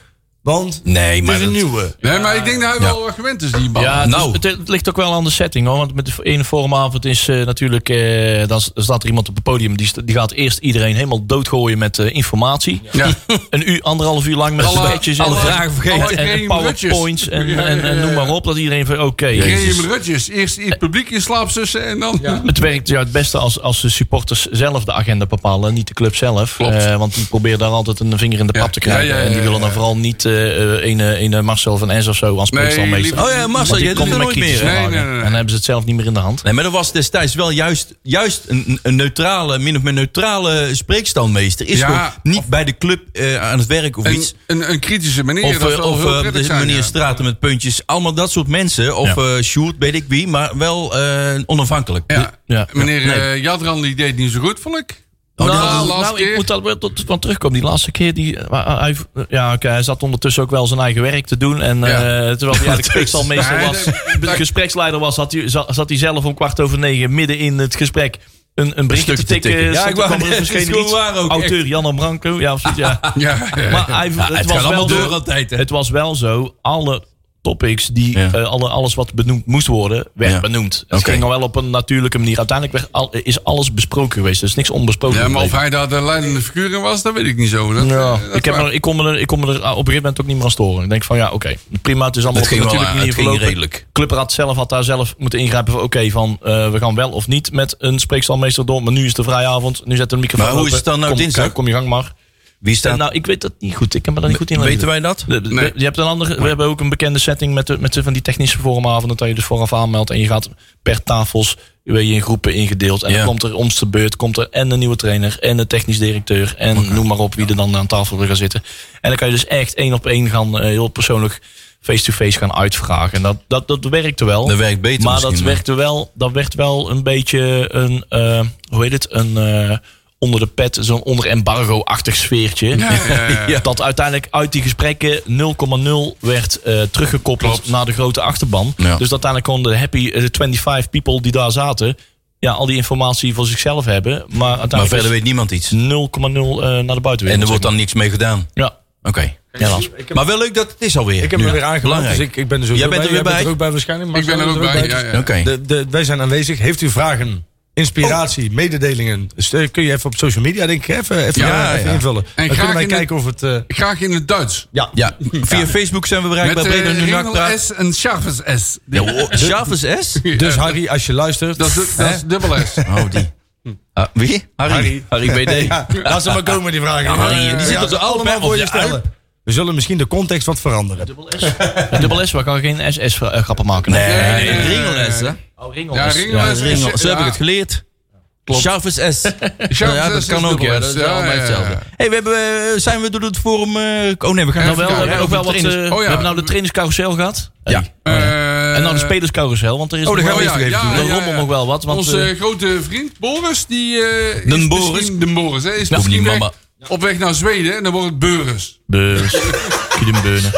Want eh, Nee, maar het is een dat- nieuwe. Nee, maar ik denk dat hij wel gewend is, die bal. Ja, het, Nou. is- het, het ligt ook wel aan de setting hoor. Want met de ene forumavond is eh, natuurlijk. eh, dan s- staat er iemand op het podium. Die, st- die gaat eerst iedereen helemaal doodgooien met eh, informatie. Ja. Een uur, anderhalf uur lang met Alle- spetjes en, alle en- vragen vergeten. En, en Geen powerpoints en, rutjes. en, en noem maar op. Dat iedereen van oké. jezus. Graham Rutjes. Eerst het publiek in slaap sussen en dan... Het werkt ja, het beste als, als de supporters zelf de agenda bepalen. en Niet de club zelf. Klopt. Eh, want die proberen daar altijd een vinger in de Ja. pap te krijgen. Ja, ja, ja, en die ja, willen dan ja. vooral niet eh eh, ene, ene Marcel van S of zo als Nee, meestal. liever- Oh ja, Marcel, jij doet er nooit meer. hè? Nee, nee, nee, nee. En dan hebben ze het zelf niet meer in de hand. Nee, maar er was destijds wel juist, juist een, een neutrale, min of meer neutrale spreekstandmeester. Is Ja, gewoon niet of- bij de club eh, aan het werk of Een, iets. een, een kritische manier. Of, dat eh, zal of heel eh, prettig de zijn, meneer ja. Straten met puntjes. Allemaal dat soort mensen. Of eh Sjoerd, weet ik wie. Maar wel eh, onafhankelijk. Ja. Ja. Meneer Nee. eh, Jadran die deed niet zo goed, vond ik. Nou, die hadden de laatste nou, ik keer. moet daar wel tot, van terugkomen. Die laatste keer, die, eh, hij, ja, oké, hij zat ondertussen ook wel zijn eigen werk te doen. En eh, Ja. terwijl hij eigenlijk gespreksleider Nee, was, dat- dat- gespreksleider was zat, hij, zat, zat hij zelf om kwart over negen midden in het gesprek een, een berichtje te stukje te tikken. tikken. Ja, Stond ik er wou kwam er net- verschenen het is gewoon iets. waar ook, echt. Auteur Jan en Branco, ja, of zoiets, ja. Ja, ja. Maar hij, het, het was gaat allemaal wel door de- altijd, hè? Het was wel zo, alle topics, die, Ja. eh, alle, alles wat benoemd moest worden, werd Ja. benoemd. Het Oké. ging al wel op een natuurlijke manier. Uiteindelijk werd al, is alles besproken geweest. Er is niks onbesproken Ja, maar of gebleven. hij daar de leidende figuur in was, dat weet ik niet zo. Dat, eh, dat Ja, ik, heb waar. me er- ik, kon me er, ik kon me er op een gegeven moment ook niet meer aan storen. Ik denk van ja, oké, prima. Het is allemaal Het op een ging natuurlijke wel aan, manier het ging verlopen. redelijk. Clubraad zelf had daar zelf moeten ingrijpen van oké, van eh, we gaan wel of niet met een spreekstalmeester door. Maar nu is de vrije avond, nu zet de microfoon Maar hoe open. is het dan nou kom, dinsdag? Kom je gang maar. Wie staat... Eh, nou, ik weet dat niet goed. Ik kan me daar niet goed in weten lezen. wij dat? De- de- Nee. Je hebt een andere, we hebben ook een bekende setting met, de, met de, van die technische forumavonden. Dat je dus vooraf aanmeldt en je gaat per tafels ben je in groepen ingedeeld. En Ja. dan komt er om de beurt komt er en een nieuwe trainer en de technisch directeur. En noem maar op wie er dan aan tafel wil gaan zitten. En dan kan je dus echt één op één gaan eh, heel persoonlijk face-to-face gaan uitvragen. En dat, dat, dat werkte wel. Dat werkt beter Maar misschien, dat maar- werkte wel, dat werd wel een beetje een, eh, hoe heet het, een... eh, onder de pet, zo'n onder embargo-achtig sfeertje. Ja. Dat uiteindelijk uit die gesprekken 0,0 werd eh, teruggekoppeld naar de grote achterban. Ja. Dus uiteindelijk konden de happy eh, de 25 people die daar zaten. Ja, al die informatie voor zichzelf hebben. Maar maar uiteindelijk verder is weet niemand iets. 0,0 eh, naar de buitenwereld. En er wordt zeg dan niks mee gedaan. maar. Ja, Oké. helaas. Maar wel leuk dat het is alweer. Ik heb nu. me weer aangemeld, Belangrijk. dus ik, ik ben er zo Jij bent er weer Jij bij? ook bij waarschijnlijk. Ik ben er Marcel ook bij. is Ja, dus ja. Oké. de, de, wij zijn aanwezig. Heeft u vragen? inspiratie, mededelingen. Dus, eh, kun je even op social media, denk ik, even, even, eh, Ja, even ja. invullen. En graag dan kunnen wij in de- kijken of het... eh, Graag in het Duits. ja. Ja, via Facebook zijn we Met bereikbaar. bij eh, Breda nu Ringel Nakpraat. S en Chavez S. Ja, oh, Chavez S? Dus Harry, als je luistert... Dat is, du- dat is dubbel S. Oh, die. Ah, wie? Harry. Harry BD. ja, laat ze maar komen, die vragen. Harry, die zitten ze allemaal voor je stellen. stellen. We zullen misschien de context wat veranderen. Dubbel S, waar kan geen SS-grappen maken. Nee. Nee, Ringel S, hè? Oh, ringel. Ja, Ringel Ja, S. Ringel. Zo heb ik Ja, het geleerd. Chavez Chavez S. ja, S dat is kan ook, dubbel ja. S. Dat is Ja, allemaal ja, ja. hetzelfde. hey, we hebben, eh, zijn we door het forum... eh, oh nee, we gaan Ja, nog Nou wel, wel. we Ja, hebben ook wel wat. eh, trainers. We hebben nou de trainerscarousel gehad. Ja. Eh, En nou de spelerscarousel, want er is Oh, daar nog gaan we wel- even ja, even er doen. rommelt nog wel wat. Want, Onze eh, eh, grote vriend Boris, die. eh Den is Boris. misschien- Den Boris, hè? Is Noem misschien die weg- mama. op weg naar Zweden en dan wordt het Beuris. Beurs. Kiedembeunen.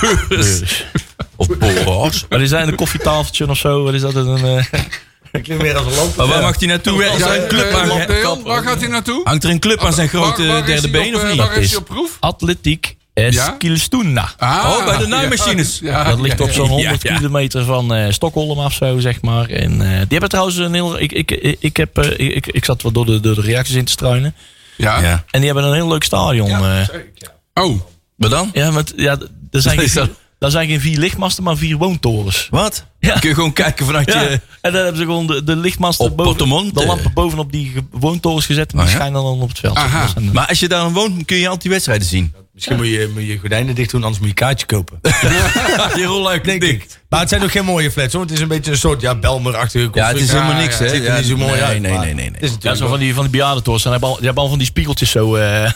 Beurs. Of Boris. eh, Wat is dat, een koffietafeltje of zo? Wat is dat? Een, eh, Ik klink meer als een lamp. Maar waar mag hij naartoe? Is er een club eh, aan Lobdeel, waar hè? gaat hij naartoe? Hangt er een club aan zijn grote Waar- waar is derde hij op, been of eh, niet? Waar is hij is- op proef? Atletiek Ja? Eskilstuna. Ah, Oh, bij de naaimachines. ja, ja, dat ligt op ja. zo'n 100 Ja, ja. kilometer van eh, Stockholm af zo, zeg maar. En eh, die hebben trouwens een heel... Ik, ik, ik, ik heb, eh, ik, ik zat wel door de, door de reacties in te struinen. Ja. Ja. En die hebben een heel leuk stadion. eh. Oh, Maar dan? Ja, want ja, d- er zijn, Is geen, dat- vier- daar zijn geen vier lichtmasten, maar vier woontorens. Wat? Ja. Kun je gewoon kijken vanuit Ja, je... en dan hebben ze gewoon de, de lichtmasten Op Portemont, de eh. lampen bovenop die ge- woontorens gezet. En die Oh ja? schijnen dan op het veld. Aha. Dus dan, eh, Maar als je daar dan woont, kun je al die wedstrijden zien. Misschien moet je, moet je gordijnen dicht doen, anders moet je een kaartje kopen. je rollen uit Denk ik. Maar het zijn ook geen mooie flats, hoor. Het is een beetje een soort, ja, Belmer-achtige Ja, het is constructie. helemaal niks, ja, hè? ziet er Ja, niet zo mooi nee, uit, Nee, maar- nee, nee. nee. Het is ja, natuurlijk zo van die, van die bejaardentorens. En die hebben al- die hebben al van die spiegeltjes zo. eh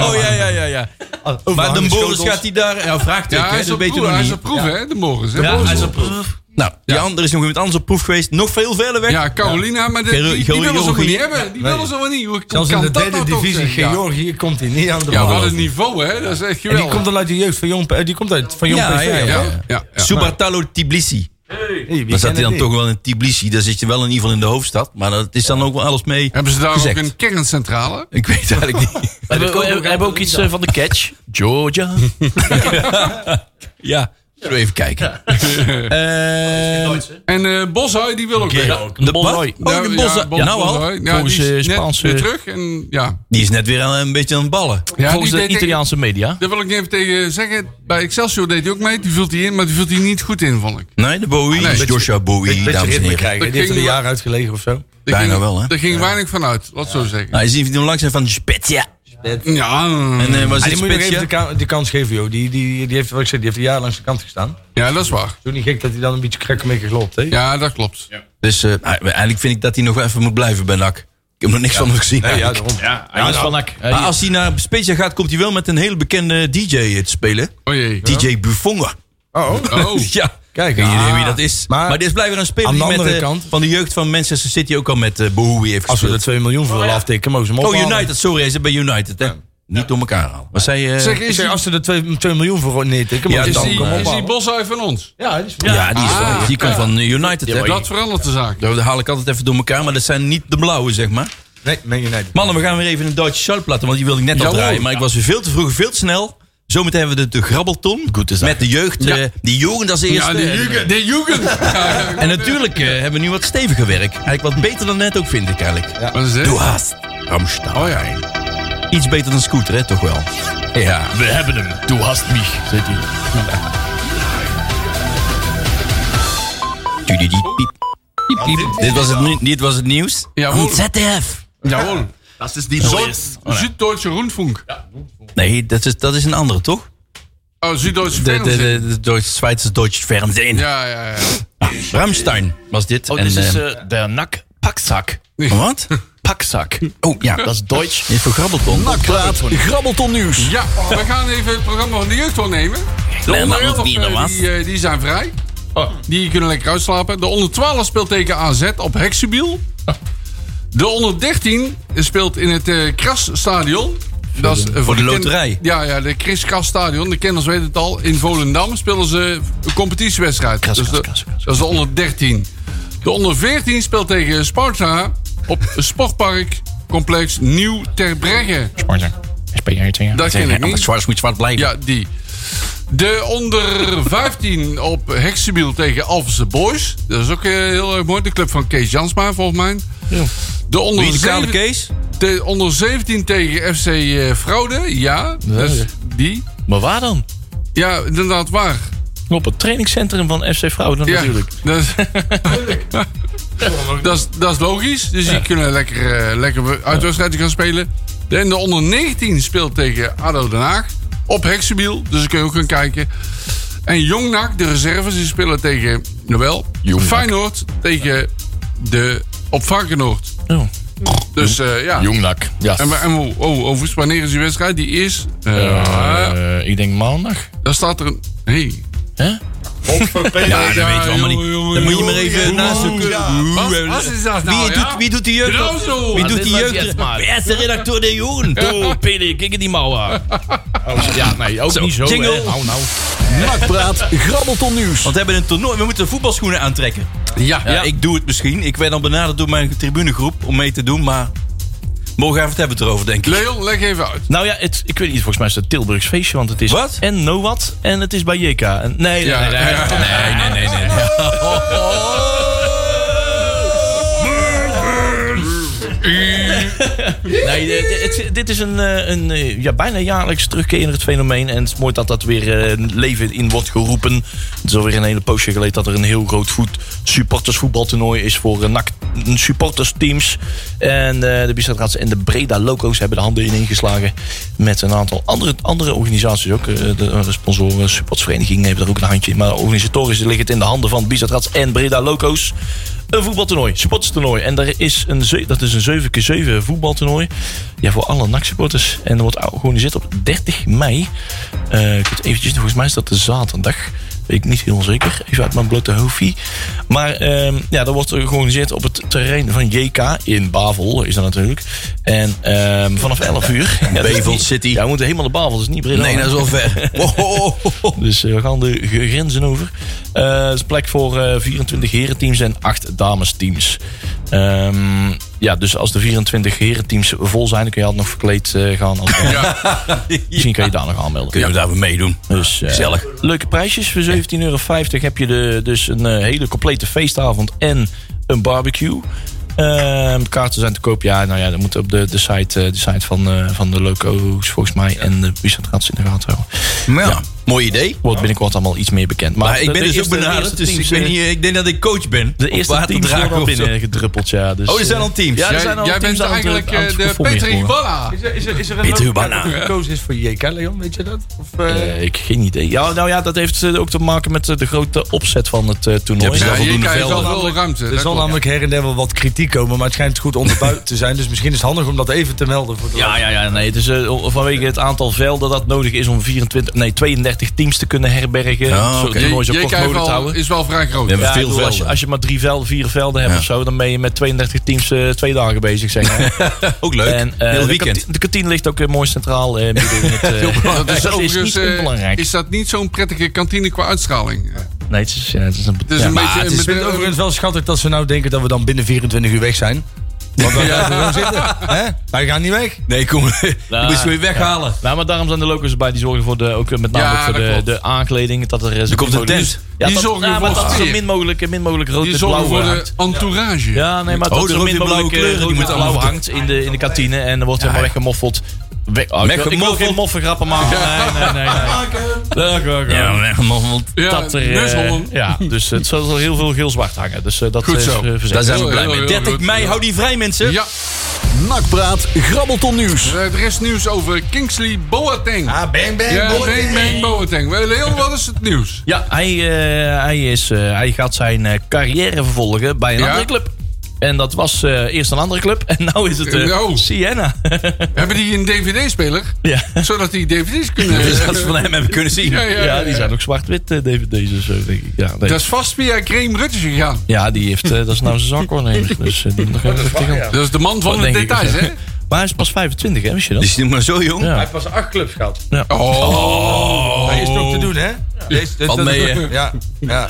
Oh ja, ja, ja. ja. wel- Maar de overhangen Boris schotels. gaat hij daar. Ja, vraagt ja, hij hij. is Dat op weet je proef, nog hij is niet. op proef, hè? De Morris. hè, Ja, Boris. hij is op proef. Nou, die ander is nog iemand anders op proef geweest. Nog veel verder weg. Ja, Carolina, maar de, Gero- die, die willen ze ook Georgië. niet hebben. Die willen ze wel niet. Hoe Zelfs in kan de dat derde nou toch divisie, zeggen? Ja. Georgië, komt hij niet aan de Ja, bal. wat een niveau, hè? Dat is echt en die geweldig. komt dan uit de jeugd van Jong, eh, die komt uit van Jong Ja, PSV, ja, hè? ja. Ja, ja, ja. Subartalo Tbilisi. Hey, wie Dan kent zat hij dan dit? toch wel in Tbilisi. Daar zit je wel in ieder geval in de hoofdstad. Maar dat is dan ook wel alles mee. Hebben ze daar gezegd. ook een kerncentrale? Ik weet het eigenlijk niet. We hebben, we hebben ook iets eh, van de catch. Georgia. Ja, zullen we even kijken. En eh Boshoi, die wil ook weer. De Bas? Bolhoi. Oh, de Bos. Bos- Nou al. Boshoi. Ja, Volgens, die eh, is net Spaanse- weer terug. En, ja. Die is net weer aan- een beetje aan het ballen. Ja, Volgens die de deed ik- Italiaanse media. Daar wil ik even tegen zeggen. Bij Excelsior deed hij ook mee. Die vult hij in, maar die vult hij niet goed in, vond ik. Nee, de Bowie. Nee. is Joshua Bowie, Ah, Beetje dames en ritme heren. krijgen. hè? Dat Die heeft er een ging- jaar uitgelegen of zo. Daar Bijna ging- wel, hè? Daar ging weinig van uit, laat het zo zeggen. Nou, je ziet hem langs zijn van Spezia. Ja, En eh, was Ah, dit die moet je nog even de, Spezia? ka- de kans geven, joh. Die, die, die, heeft, wat ik zei, die heeft een jaar langs de kant gestaan. Het ja, dat is waar. is ook niet gek dat hij dan een beetje krekker mee gelopt, hè? Ja, dat klopt. Dus eh, eigenlijk vind ik dat hij nog even moet blijven bij NAC. Ik heb nog niks van hem gezien. ja, eigenlijk. daarom. Hij is van NAC. Eh, maar als hij naar Spezia gaat, komt hij wel met een hele bekende DJ te spelen. O Oh, jee. DJ Buffonga. Oh, Oh, Ja. kijk. Geen idee ah. wie dat is. Maar, Maar- dit is blijkbaar een speler Aan de die met, andere eh, kant- van de jeugd van Manchester City ook al met eh Bowie heeft Als we de gespeeld. 2 miljoen voor willen aftikken, mogen ze hem Oh, ophalen. United. Sorry, hij zit bij United. Hè? Niet door elkaar halen. Wat zei je? zeg, Eh, Ik is zeg, die, als ze er 2, miljoen voor neertikken, Ja, mogen is ze hem die, dan is die ophalen. Boshoi van ons? Ja, die is ja, die, is, Ah, die komt van eh, United. hè? Dat verandert de zaak. Daar haal ik altijd even door elkaar, maar dat zijn niet de blauwe, zeg maar. Nee, Man United. Mannen, we gaan weer even een Duitse Sharp laten, want die wilde ik net al Jawel. draaien. Maar ik was weer veel te vroeg, veel te snel. Zometeen hebben we de, de grabbelton met de jeugd. eh die jugend als eerste. Ja, de Jugend. De Jugend. En natuurlijk eh, hebben we nu wat steviger werk. Eigenlijk wat beter dan net ook, vind ik eigenlijk. Wat is dit? Doe haast. Ramstein. Oh ja. Iets beter dan Scooter, hè, toch wel? Ja. We hebben hem. Du hast mich. Zit hij. Tudidiep. Dit was het, nie- dit was het nieuws. Jawohl. ZDF. Jawohl. Das ist die Deutsche. Zuid-Duitse Rundfunk. Nee, dat is, dat is een andere, toch? Oh, Zuid-Duitse De, de, de, Fernsehen. de, Duits- Zwitserse Deutsche Fernsehen. Ja, ja, ja. Ramstein was dit. Oh, en, dit is eh, eh, de NAC Pakzak. wat? Pakzak. Oh ja, Dat is Duits. Dit is voor grabbelton. Nakpraat, grabbelton nieuws. Ja, we gaan even het programma van de jeugd doornemen. De Nee, onder dat 11, moet niet, eh, dat was. die, eh, die zijn vrij. Die kunnen lekker uitslapen. De onder 12 speelt tegen AZ op Hexabiel. De onder 13 speelt in het eh Krasstadion. Dat is, eh, voor de ken- loterij. Ja, ja, de Chris Krasstadion. De kenners weten het al. In Volendam spelen ze een competitiewedstrijd. Kras, Dus de- kras, kras, kras. Dat is de onder 13. De onder 14 speelt tegen Sparta op Sportpark Complex Nieuw Terbregge. Sparta. SP1. Dat ken ik niet. Zwart moet zwart blijven. Ja, die. De onder 15 op Hexenbiel tegen Alphense Boys. Dat is ook eh, heel erg mooi. De club van Kees Jansma, volgens mij. De onder Wie de kale 17 Kees? te- onder 17 tegen FC eh, Fraude. Ja, dat is die. Maar waar dan? Ja, inderdaad waar. Op het trainingscentrum van FC Vrouwen dan Ja, natuurlijk. Dat is, dat is, dat is logisch. Dus die kunnen lekker, eh, lekker uitwedstrijden gaan spelen. De- En de onder 19 speelt tegen ADO Den Haag. Op Hexenbiel. Dus daar kun je ook gaan kijken. En Jong NAC, de reserves, die spelen tegen, jawel, Feyenoord. Tegen de, op Varkenoord. Oh. Dus eh, ja. Jongnak. Ja. En, wa- en hoe- oh, overigens, wanneer is die wedstrijd? Die is... eh, Eh, ik denk maandag. daar staat er een... Hey. Hè? Ja, Ah, dat weten we allemaal jongen, niet. jongen, Dan moet je jongen, maar even jongen, nazoeken. ja. Oeh, Wat- eh, wat is dat nou, wie, ja? doet, wie doet die jeugd? Genau zo. Wie Wat doet is die dat jeugd? jetzt mal? Wer is de redacteur de Jugend? Oh, Pele, kijk die mouwen. Oh, ja, nee, ook niet zo. hè. jingle. Nou, nou. Nakpraat, grabbelton nieuws. Want we hebben een toernooi. We moeten voetbalschoenen aantrekken. Ja. Ja, ik doe het misschien. Ik werd dan benaderd door mijn tribunegroep om mee te doen, maar... Morgen even hebben we het erover, denk ik. Leon, leg even uit. Nou ja, het, ik weet niet, volgens mij is het Tilburgs feestje, want het is Wat? en Noat en het is bij JK. En, nee, Ja, nee, nee, nee, ja. nee, nee, nee, nee, nee. Nee, dit- dit- dit is een, eh, een eh, ja, bijna jaarlijks terugkerend fenomeen. En het is mooi dat dat weer eh, leven in wordt geroepen. Het is alweer een hele poosje geleden dat er een heel groot voet supportersvoetbaltoernooi is voor eh, NAC supportersteams. En eh, de Bistradraads en de Breda Loco's hebben de handen ineengeslagen. Met een aantal andere, andere organisaties ook. Eh, de, eh, de sponsoren, supportersverenigingen hebben er ook een handje. in. Maar organisatorisch ligt het in de handen van Bistradraads en Breda Loco's. Een voetbaltoernooi, supporterstoernooi. En daar is een, ze- dat is een 7x7 voetbaltoernooi. Ja, voor alle NAC-supporters. En dat wordt georganiseerd op 30 mei. Eh, ik weet eventjes, volgens mij is dat de zaterdag. Weet ik niet heel zeker. Even uit mijn blote hoofdje. Maar ehm, ja, dat wordt georganiseerd op het terrein van JK. In Bavel is dat natuurlijk. En ehm, vanaf 11 uur. Ja, dat is Bevel niet- City. Ja, we moeten helemaal naar Bavel. Dat is niet Breda. Nee, dat is wel ver. Dus eh, we gaan de ge- grenzen over. Eh, het is plek voor eh 24 herenteams en 8 damesteams. Ehm, ja, dus als de 24 herenteams vol zijn, dan kun je altijd nog verkleed eh, gaan. Als Misschien kan je daar nog aanmelden. Kunnen we daar weer meedoen? Dus, eh, Gezellig. Leuke prijsjes. Voor 17,50 euro heb je de, dus een eh, hele complete feestavond en een barbecue. Ehm, kaarten zijn te koop. Ja, nou ja, dat moet op de, de, site, eh, de site van, eh, van de Loco's volgens mij. En de Bizet gaat ze in de gaten houden. Ja. Mooi idee. Wordt binnenkort allemaal iets meer bekend. Maar de- ik ben de dus ook eerste- de benaderd, eerste dus ik, teams, weet eh, niet, eh, ik denk dat ik coach ben. De eerste teams worden al binnen gedruppeld, ja. Dus, Oh, er zijn al teams. Ja, er Jij, zijn al jij teams bent aan het- eigenlijk aan het eh, de performeren Petri geworden. Balla. Is er, is er, is er een Peter logo- Urbana. Ja. gekozen is voor JK, Leon, weet je dat? Of, eh, Eh, ik geen idee. Ja, nou ja, dat heeft eh, ook te maken met eh, de grote opzet van het eh, toernooi. Ja, Ja, hier voldoende krijg je wel velden. veel ruimte. er dat zal klopt. namelijk her en der wel wat kritiek komen, maar het schijnt goed onderbouwd te zijn. Dus misschien is het handig om dat even te melden. Voor de Ja, ja, ja. Nee, het is eh, vanwege het aantal velden dat nodig is om 24, nee, 32 teams te kunnen herbergen. Ah, Zo- oké. het toernooi zo JK kort mogelijk te houden. is wel vrij groot. Ja, Ja, Veel ik bedoel, als, je, velden. als je maar drie velden, vier velden hebt Ja. of zo, dan ben je met 32 teams eh, twee dagen bezig, zeg maar. Ook leuk. En, eh, Heel de weekend. kantine- De kantine ligt ook eh, mooi centraal. eh, midden in het, eh, Dat is het is overigens niet eh, onbelangrijk. is dat niet zo'n prettige kantine qua uitstraling. Eh, Het nee, het is, ja, het is een... is ja. een beetje Het is met- vind het overigens wel schattig dat ze nou denken dat we dan binnen 24 uur weg zijn. Want dan gaan we gewoon zitten. Hè? Wij gaan niet weg. Nee, kom. Je Nou, moest ze weer weghalen. Nou, maar daarom zijn de locals erbij. Die zorgen voor de, ook eh, met name Ja, ook voor dat de, klopt. de aankleding. Dat er, eh, zo Er komt min een mogelijk- tent. Ja, Die dat, zorgen ja, maar voor dat zo sfeer. min mogelijk, eh, min mogelijk rood die en zorgen blauw voor hangt. de entourage. Ja, nee, maar Oh, dat er zo ook min weer blauwe mogelijk kleuren, kleuren, die die moeten moeten blauw allemaal hangt in de, in de kantine. En er wordt helemaal weggemoffeld. We, oh, ik wil- ik wil Weggemoffeld. geen moffen grappen maken. Nee, nee, nee. nee. Leuk, leuk, leuk. Ja, dat er, eh, neushoorn. ja, dus het zal er heel veel geel-zwart hangen. Dus eh, dat Goed is zo. eh, verzekerd. Daar zijn we Heel, blij heel, mee. heel 30 goed. mei, hou die vrij, mensen. Ja, Nakpraat, grabbelton nieuws. Eh, er is nieuws over Kingsley Boateng. Ah, bang, bang, ja, boy. Bang Bang Boateng. Wel, Leon, wat is het nieuws? Ja, hij, eh, hij, is, eh, hij gaat zijn eh, carrière vervolgen bij een Ja. andere club. En dat was eh, eerst een andere club. En nu is het eh, Eh, oh. Siena. Hebben die een DVD-speler? ja. Zodat die DVD's kunnen... Dus dat ze van hem hebben kunnen zien. ja, ja, ja, die zijn ook zwart-wit eh, DVD's of zo, denk ik. Ja, nee. Dat is vast via Graham Rutters gegaan. Ja, die heeft, eh, dat is nou zijn zakwaarnemer. Dus eh, die moet nog even tegenaan. Dat is de man van Wat de denk ik, details, of- hè? Maar hij is pas 25, hè, wist je dat? Die is nog maar zo jong. Ja. Hij heeft pas acht clubs gehad. Oh. Hij is toch te doen, hè? Deze, dit- Valt dat- mee, hè? Ja, ja.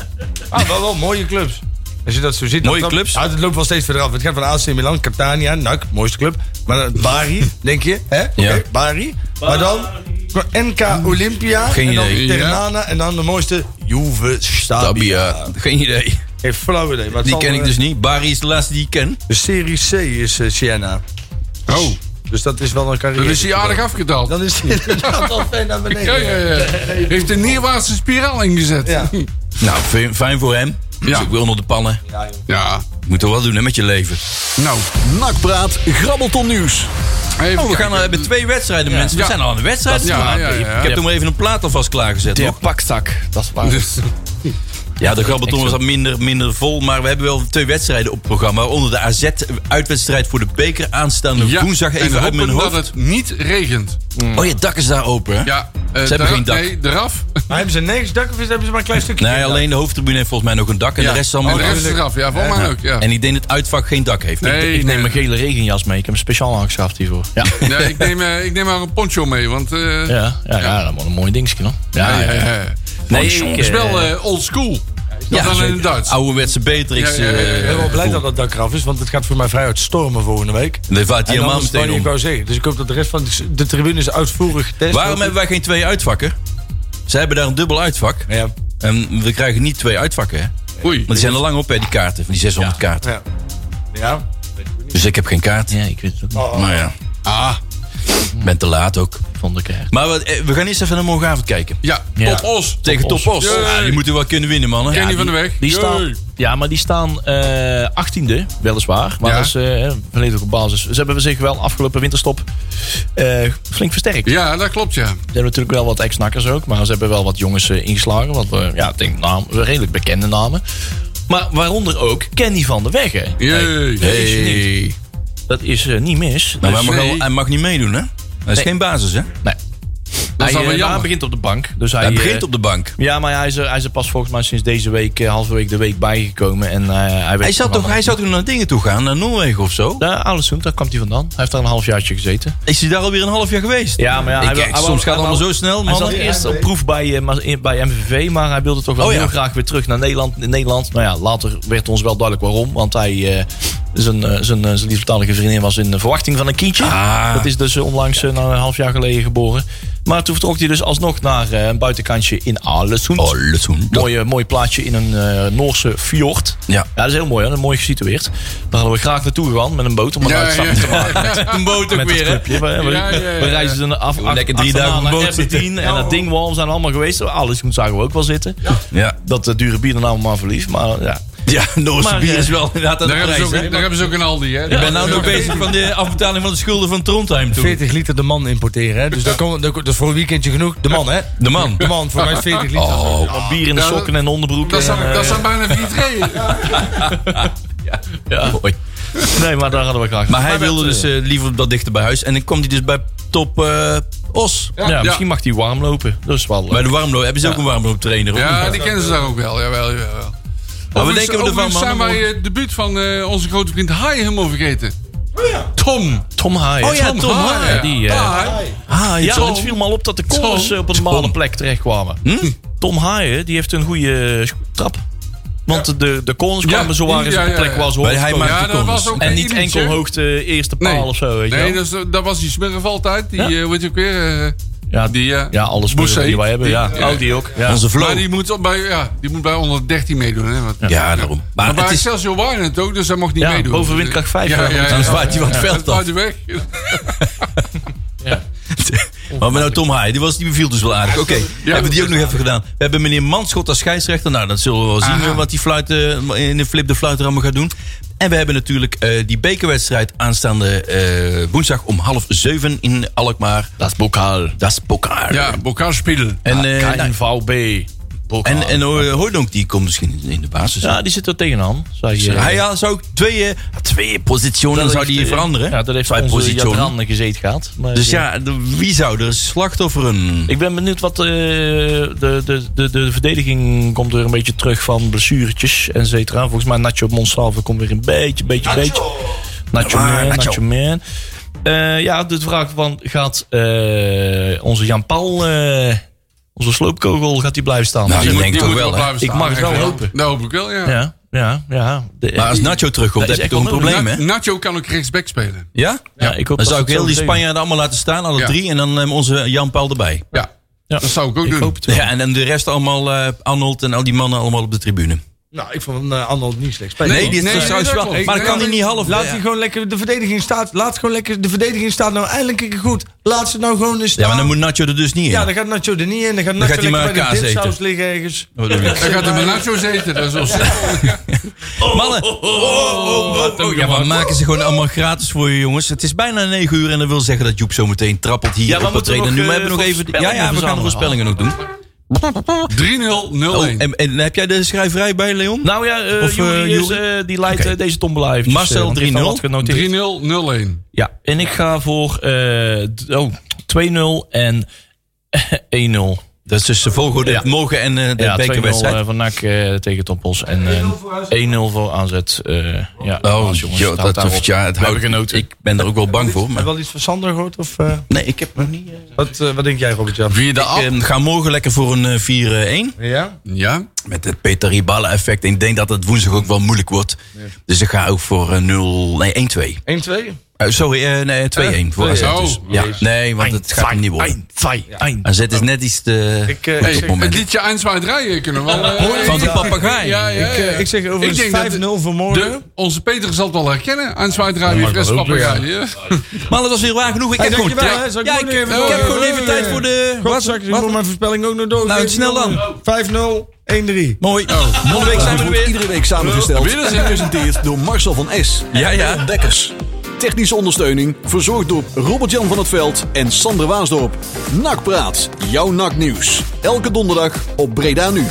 Ah, wel, wel mooie clubs. Als je dat zo ziet. Mooie dat- clubs? Ja, het loopt wel steeds verder af. Het gaat van AC Milan, eh, Catania, NAC, mooiste club. Maar dan Bari, denk je. Hè? Oké, Ja. Hm. Bari. Maar dan NK Olympia. Geen en dan idee. Ternana. En dan de mooiste Juve Stabia. Tabia. Geen idee. Geen flauw idee. maar het Die zal, ken ik eh, dus niet. Barry is de laatste die ik ken. De Serie C is eh, Siena. Oh, Dus dat is wel een carrière. dan is hij aardig afgedaald. Dan is hij inderdaad al fijn naar beneden. Ja, ja, ja. Heeft een neerwaartse spiraal ingezet. Ja. Nou, fijn, fijn voor hem. Dus ik wil nog de pannen. Ja. Je moet toch wel doen hè, met je leven. Nou, Nakpraat, grabbelton nieuws. even Oh, we kijken. gaan eh, met twee wedstrijden, mensen. We Ja. zijn al aan de wedstrijd. Dat is waar, ja, ja, ja. Ik heb toen maar even een plaat alvast klaargezet. De hoor. pakzak, dat is waar. Dus, Ja, de grabbelton was wat minder, minder vol. Maar we hebben wel twee wedstrijden op het programma. Onder de AZ-uitwedstrijd voor de beker aanstaande ja, woensdag. en Even uit mijn hopen hoofd. dat het niet regent. Oh, je dak is daar open, hè? Ja, eh, hebben daar- geen dak. Nee, eraf. Maar hebben ze nergens dak of is- hebben ze maar een klein stukje? Nee, alleen de hoofdtribune heeft volgens mij nog een dak. En Ja. Oh, de rest is allemaal En de eraf. rest is eraf. Ja, volgens mij ook. Ja. En ik denk dat het uitvak geen dak heeft. Nee, ik neem nee. een gele regenjas mee. Ik heb hem speciaal aangeschaft hiervoor. Ja, ja, Ja, ik, neem, eh, ik neem maar een poncho mee, want... eh ja. ja, ja, dat was een mooi dingetje dan. Ja, ja, Nee, Het is wel eh, old school. Ja, dan in het Duits. Ouderwetse Beatrix. Ja, ja, ja, ja. eh, Ik ben wel blij dat dat dak eraf is, want het gaat voor mij vrij uit stormen volgende week. Daar vaart hij En helemaal dan is het meteen ik om. wou zeggen. Dus ik hoop dat de rest van de, de tribune is uitvoerig getest. Waarom hebben wij geen twee uitvakken? Ze hebben daar een dubbel uitvak. Ja. En we krijgen niet twee uitvakken, hè? Maar Oei. die zijn er lang op, hè, die kaarten. Van die 600 kaarten. Ja. ja. Dus ik heb geen kaart. Ja, ik weet het ook Oh. niet. Maar ja, Ah, ik ben te laat ook. Vond ik erg. Maar wat, eh, we gaan eerst even naar morgenavond kijken. ja. Ja. Top Os. Tegen Os. Top Os. Yay. Ja, die moeten we wel kunnen winnen, mannen. Kenny Ja, van de Weg. Die Yay. staan, ja, maar die staan eh 18e, weliswaar. Maar Ja. dat is eh, verleden ook op basis. Ze hebben zich wel afgelopen winterstop eh, flink versterkt. Ja, dat klopt, ja. Ze hebben natuurlijk wel wat ex-nakkers ook, maar ze hebben wel wat jongens eh, ingeslagen. Wat eh, ja, ik denk naam, redelijk bekende namen. Maar waaronder ook Kenny van der Wegge. Jee. Hey. is Dat is eh, niet mis. Nou, Dus- hij mag, wel- Nee. hij mag niet meedoen, hè? Dat is Nee. geen basis, hè? nee. wel Hij, eh, jammer. maar hij begint op de bank. Dus hij, Hij eh, begint op de bank. Ja, maar hij is, er, hij is er pas volgens mij sinds deze week, eh, halve week de week bijgekomen. En, eh, hij, weet Hij zou, het toch, programma hij zou toch naar dingen toe gaan, naar Noorwegen of zo? Ja, Alessund, daar kwam hij vandaan. Hij heeft daar een halfjaartje gezeten. Is hij daar alweer een half jaar geweest? Ja, maar ja, Ik- hij wil- kijk, hij wil- soms gaat hij het allemaal wil- zo snel. Hij zat mannen. eerst op proef bij, eh, maar- in- bij MVV, maar hij wilde toch wel Oh, ja. heel graag weer terug naar Nederland. In Nederland. Nou ja, later werd ons wel duidelijk waarom. Want hij, eh, zijn, eh, zijn, eh, zijn liefdatalige vriendin was in de verwachting van een kindje. Ah. Dat is dus eh, onlangs, eh, nou, een half jaar geleden geboren. Maar toen vertrok hij dus alsnog naar eh, een buitenkantje in Alessund. Oh, Lutsoen. Mooie, mooi plaatje in een eh, Noorse fjord. Ja. dat is heel mooi. Hè? Dat is Mooi gesitueerd. Daar hadden we graag naartoe gegaan met een boot. Om een Ja, uitstapje ja. te maken Een boot ook met weer, hè? het clubje. We, we, Ja, ja, ja. we reizen dan af, af Lekker drie achterna dagen op een naar boot zitten. Aberdeen en naar Dingwall. We zijn allemaal geweest. Alles goed zagen we ook wel zitten. Ja. Dat eh, dure bier dan allemaal verlief. Maar ja. Ja, Noorse Maar, bier eh, is wel inderdaad aan de Daar hebben, ze prijs, ook, hè? daar hebben ze ook een Aldi, hè? Ik ben nou nog bezig van de afbetaling van de schulden van Trondheim toen. 40 liter de man importeren, hè? Dus dat, komt- dat, dat is voor een weekendje genoeg. De man, hè? De man. De man, voor mij is 40 liter. Oh, Wat bier in de Ja, dat- sokken en de onderbroek. Dat en, zijn, eh, dat zijn bijna vier treinen. mooi. nee, maar daar hadden we graag. Maar hij wilde dat, dus eh, eh, liever dat dichter bij huis. En dan komt hij dus bij Top eh, Os. ja, misschien mag hij warm lopen. Dat is wel... eh, Bij de warmloop. Hebben ze ook een warmlooptrainer? of Ja, niet? die kennen ze daar ook wel. Jawel, jawel. Maar we denken we ervan, Overigens zijn wij man. eh, het debuut van eh, onze grote vriend Hai helemaal vergeten. Tom. Tom Haaien. Oh ja, Tom Haaien. Ja, die, eh, Hai. Ah, ja, Tom. het viel me al op dat de koolers eh, op een normale plek terechtkwamen. Hm? Tom Haaien, die heeft een goede eh, trap. Want de, de corners kwamen zo waar ja, is op de ja, plek ja. waar ze Maar horen te hij komen. maakt Ja, de dat corners. was ook En een niet Iris, enkel hè? hoogte eerste paal Nee. of zo, weet je Nee, wel. dat, is, dat was die smurf altijd. Die, Ja. eh, weet je ook weer? eh, Ja, die, eh, ja alles Bousset, die wij hebben. die- Ja. ja. Oh, die ook. Ja. Onze flow. Maar die moet, op bij, ja, die moet bij 113 meedoen. Hè, want- Ja, daarom. Maar Maar bij het is... Excelsior waren het ook, dus hij mocht niet Ja, meedoen. boven windkracht vijf, Ja, ja, ja, ja, Dan zwaait hij wat het Dat veld af. waait hij weg. Maar nou Tom Haaien, die, was, die beviel dus wel aardig. Oké, hebben we die ook nog even gedaan. We hebben meneer Manschot als scheidsrechter. Nou, dat zullen we wel zien Aha. eh, wat die fluit, eh, in de flip de fluiter allemaal gaat doen. En we hebben natuurlijk eh, die bekerwedstrijd aanstaande eh, woensdag om half zeven in Alkmaar. Dat is bokaal. Dat is pokaar. Ja, bokaal spelen. En, eh, nou, KNVB. en, Bokaal. en eh, Hooydonk die komt misschien in de basis. ja, die zit er tegenaan. Zei, je. Hij ja, zou ook twee, eh, twee positionen zou die veranderen. Ja, dat heeft twee onze positionen. Jadran gezeten gehad. Maar, Dus eh, ja, de- wie zou er slachtofferen? Ik ben benieuwd wat eh, de, de, de, de verdediging komt weer een beetje terug van blessuretjes en cetera. Volgens mij Nacho Monsalve komt weer een beetje, beetje, beetje. Nacho Ah, man, Nacho. Nacho man. Eh, ja, de vraag van gaat eh, onze Jan Paul, eh, onze sloopkogel, gaat die blijven staan? Nou, ja. denk ik toch wel, hè? blijven Ik mag het wel Ja, hopen. Dat hoop ik wel, ja. ja. Ja, ja. De- Maar als Nacho terugkomt, Dat is heb je echt toch een onnodig. probleem, hè? Na- Nacho kan ook rechtsback spelen. Ja? Ja, ik hoop Dan dat zou ze ik heel het die zo Spanjaarden allemaal laten staan, alle Ja. drie. En dan eh, onze Jan-Paul erbij. Ja, Ja. dat zou ik ook doen. hoop het. Ja, en dan de rest allemaal, eh, Arnold en al die mannen allemaal op de tribune. Nou, ik vond eh Arnold niet slecht spelen. Nee, nee, die is nee, trouwens dat wel. klopt. Maar dan Nee, kan hij dat- niet half. Laat ja. die gewoon lekker de verdediging staat. Laat gewoon lekker de verdediging staat nou eindelijk een keer goed. Laat ze nou gewoon eens staan. Ja, maar dan moet Nacho er dus niet in. Ja, dan gaat Nacho er niet in. Dan gaat Nacho gaat hij maar lekker bij de kaas eten. dipsaus liggen ergens. Wat bedoel je? Dan gaat er bij Nacho zitten. Dat is wel- Mannen, oh, oh, oh, oh. ja, maar maken ze gewoon allemaal gratis voor je jongens. Het is bijna 9 uur en dat wil zeggen dat Joep zo meteen trappelt hier Ja, maar op het moeten we treden. nog, Nu eh, maar hebben we nog even. Ja, ja, we gaan de voorspellingen voorspellingen nog doen. 3-0-0-1. Oh, en, en heb jij de schrijverij bij Leon? Nou ja, eh Of, eh, Joeri is, Joeri? eh, die leidt Oké. eh, deze tombola eventjes, Marcel eh, want die heeft al 3-0. wat genoteerd. 3-0-0-1. Ja, en ik ga voor eh, d- oh, 2-0 en 1-0. Dat is dus de volgorde, het mogen en eh, de Ja, 2-0 bekerwedstrijd. eh, van NAC eh, tegen Tompels. En eh, 1-0 voor aanzet. eh, ja, Oh, jongens, het joh, houdt dat, daarop. of- ja, het We hebben houdt, genoten. ik ben er ook wel bang voor. Heb Maar, je wel iets van Sander gehoord? Of, eh, nee, ik heb nog niet. wat, eh, wat denk jij, Robert-Jan? Via de af. Ik eh, ga morgen lekker voor een eh, 4-1. Ja? Ja. Met het Peter Riballa effect. Ik denk dat het woensdag ook wel moeilijk wordt. Dus ik ga ook voor eh, 0... Nee, 1-2. 1-2? Eh, sorry, eh, nee, 2-1 voor AZ dus. Oh, Ja, nee, want het gaat hem niet worden. AZ is net iets te Ik, eh, goed op Hey, het het moment. liedje 1, 2, 3 kunnen we wel. eh, Van de papegaai. Ja, ja, Ik, eh, ja. ik zeg overigens Ik denk 5-0 dat voor de, Oh, morgen. onze Peter zal het wel herkennen. 1, 2, 3, wie fris papegaai. hè? Maar dat was weer waar genoeg. Ik heb gewoon dankjewel, hè. tijd. Zal ik Ja, ik gewoon ik even- heb gewoon Eh, even eh, tijd voor de... Wat zak ik voor mijn voorspelling ook nog door? Nou, snel dan. 5-0, 1-3. Mooi. Volgende week zijn we er Wordt weer. Iedere week samengesteld Winnen en ze. gepresenteerd door Marcel van S. Ja, ja. En Dekkers. Technische ondersteuning verzorgd door Robert-Jan van het Veld en Sander Waasdorp. Nakpraat, jouw naknieuws. Elke donderdag op Breda Nu.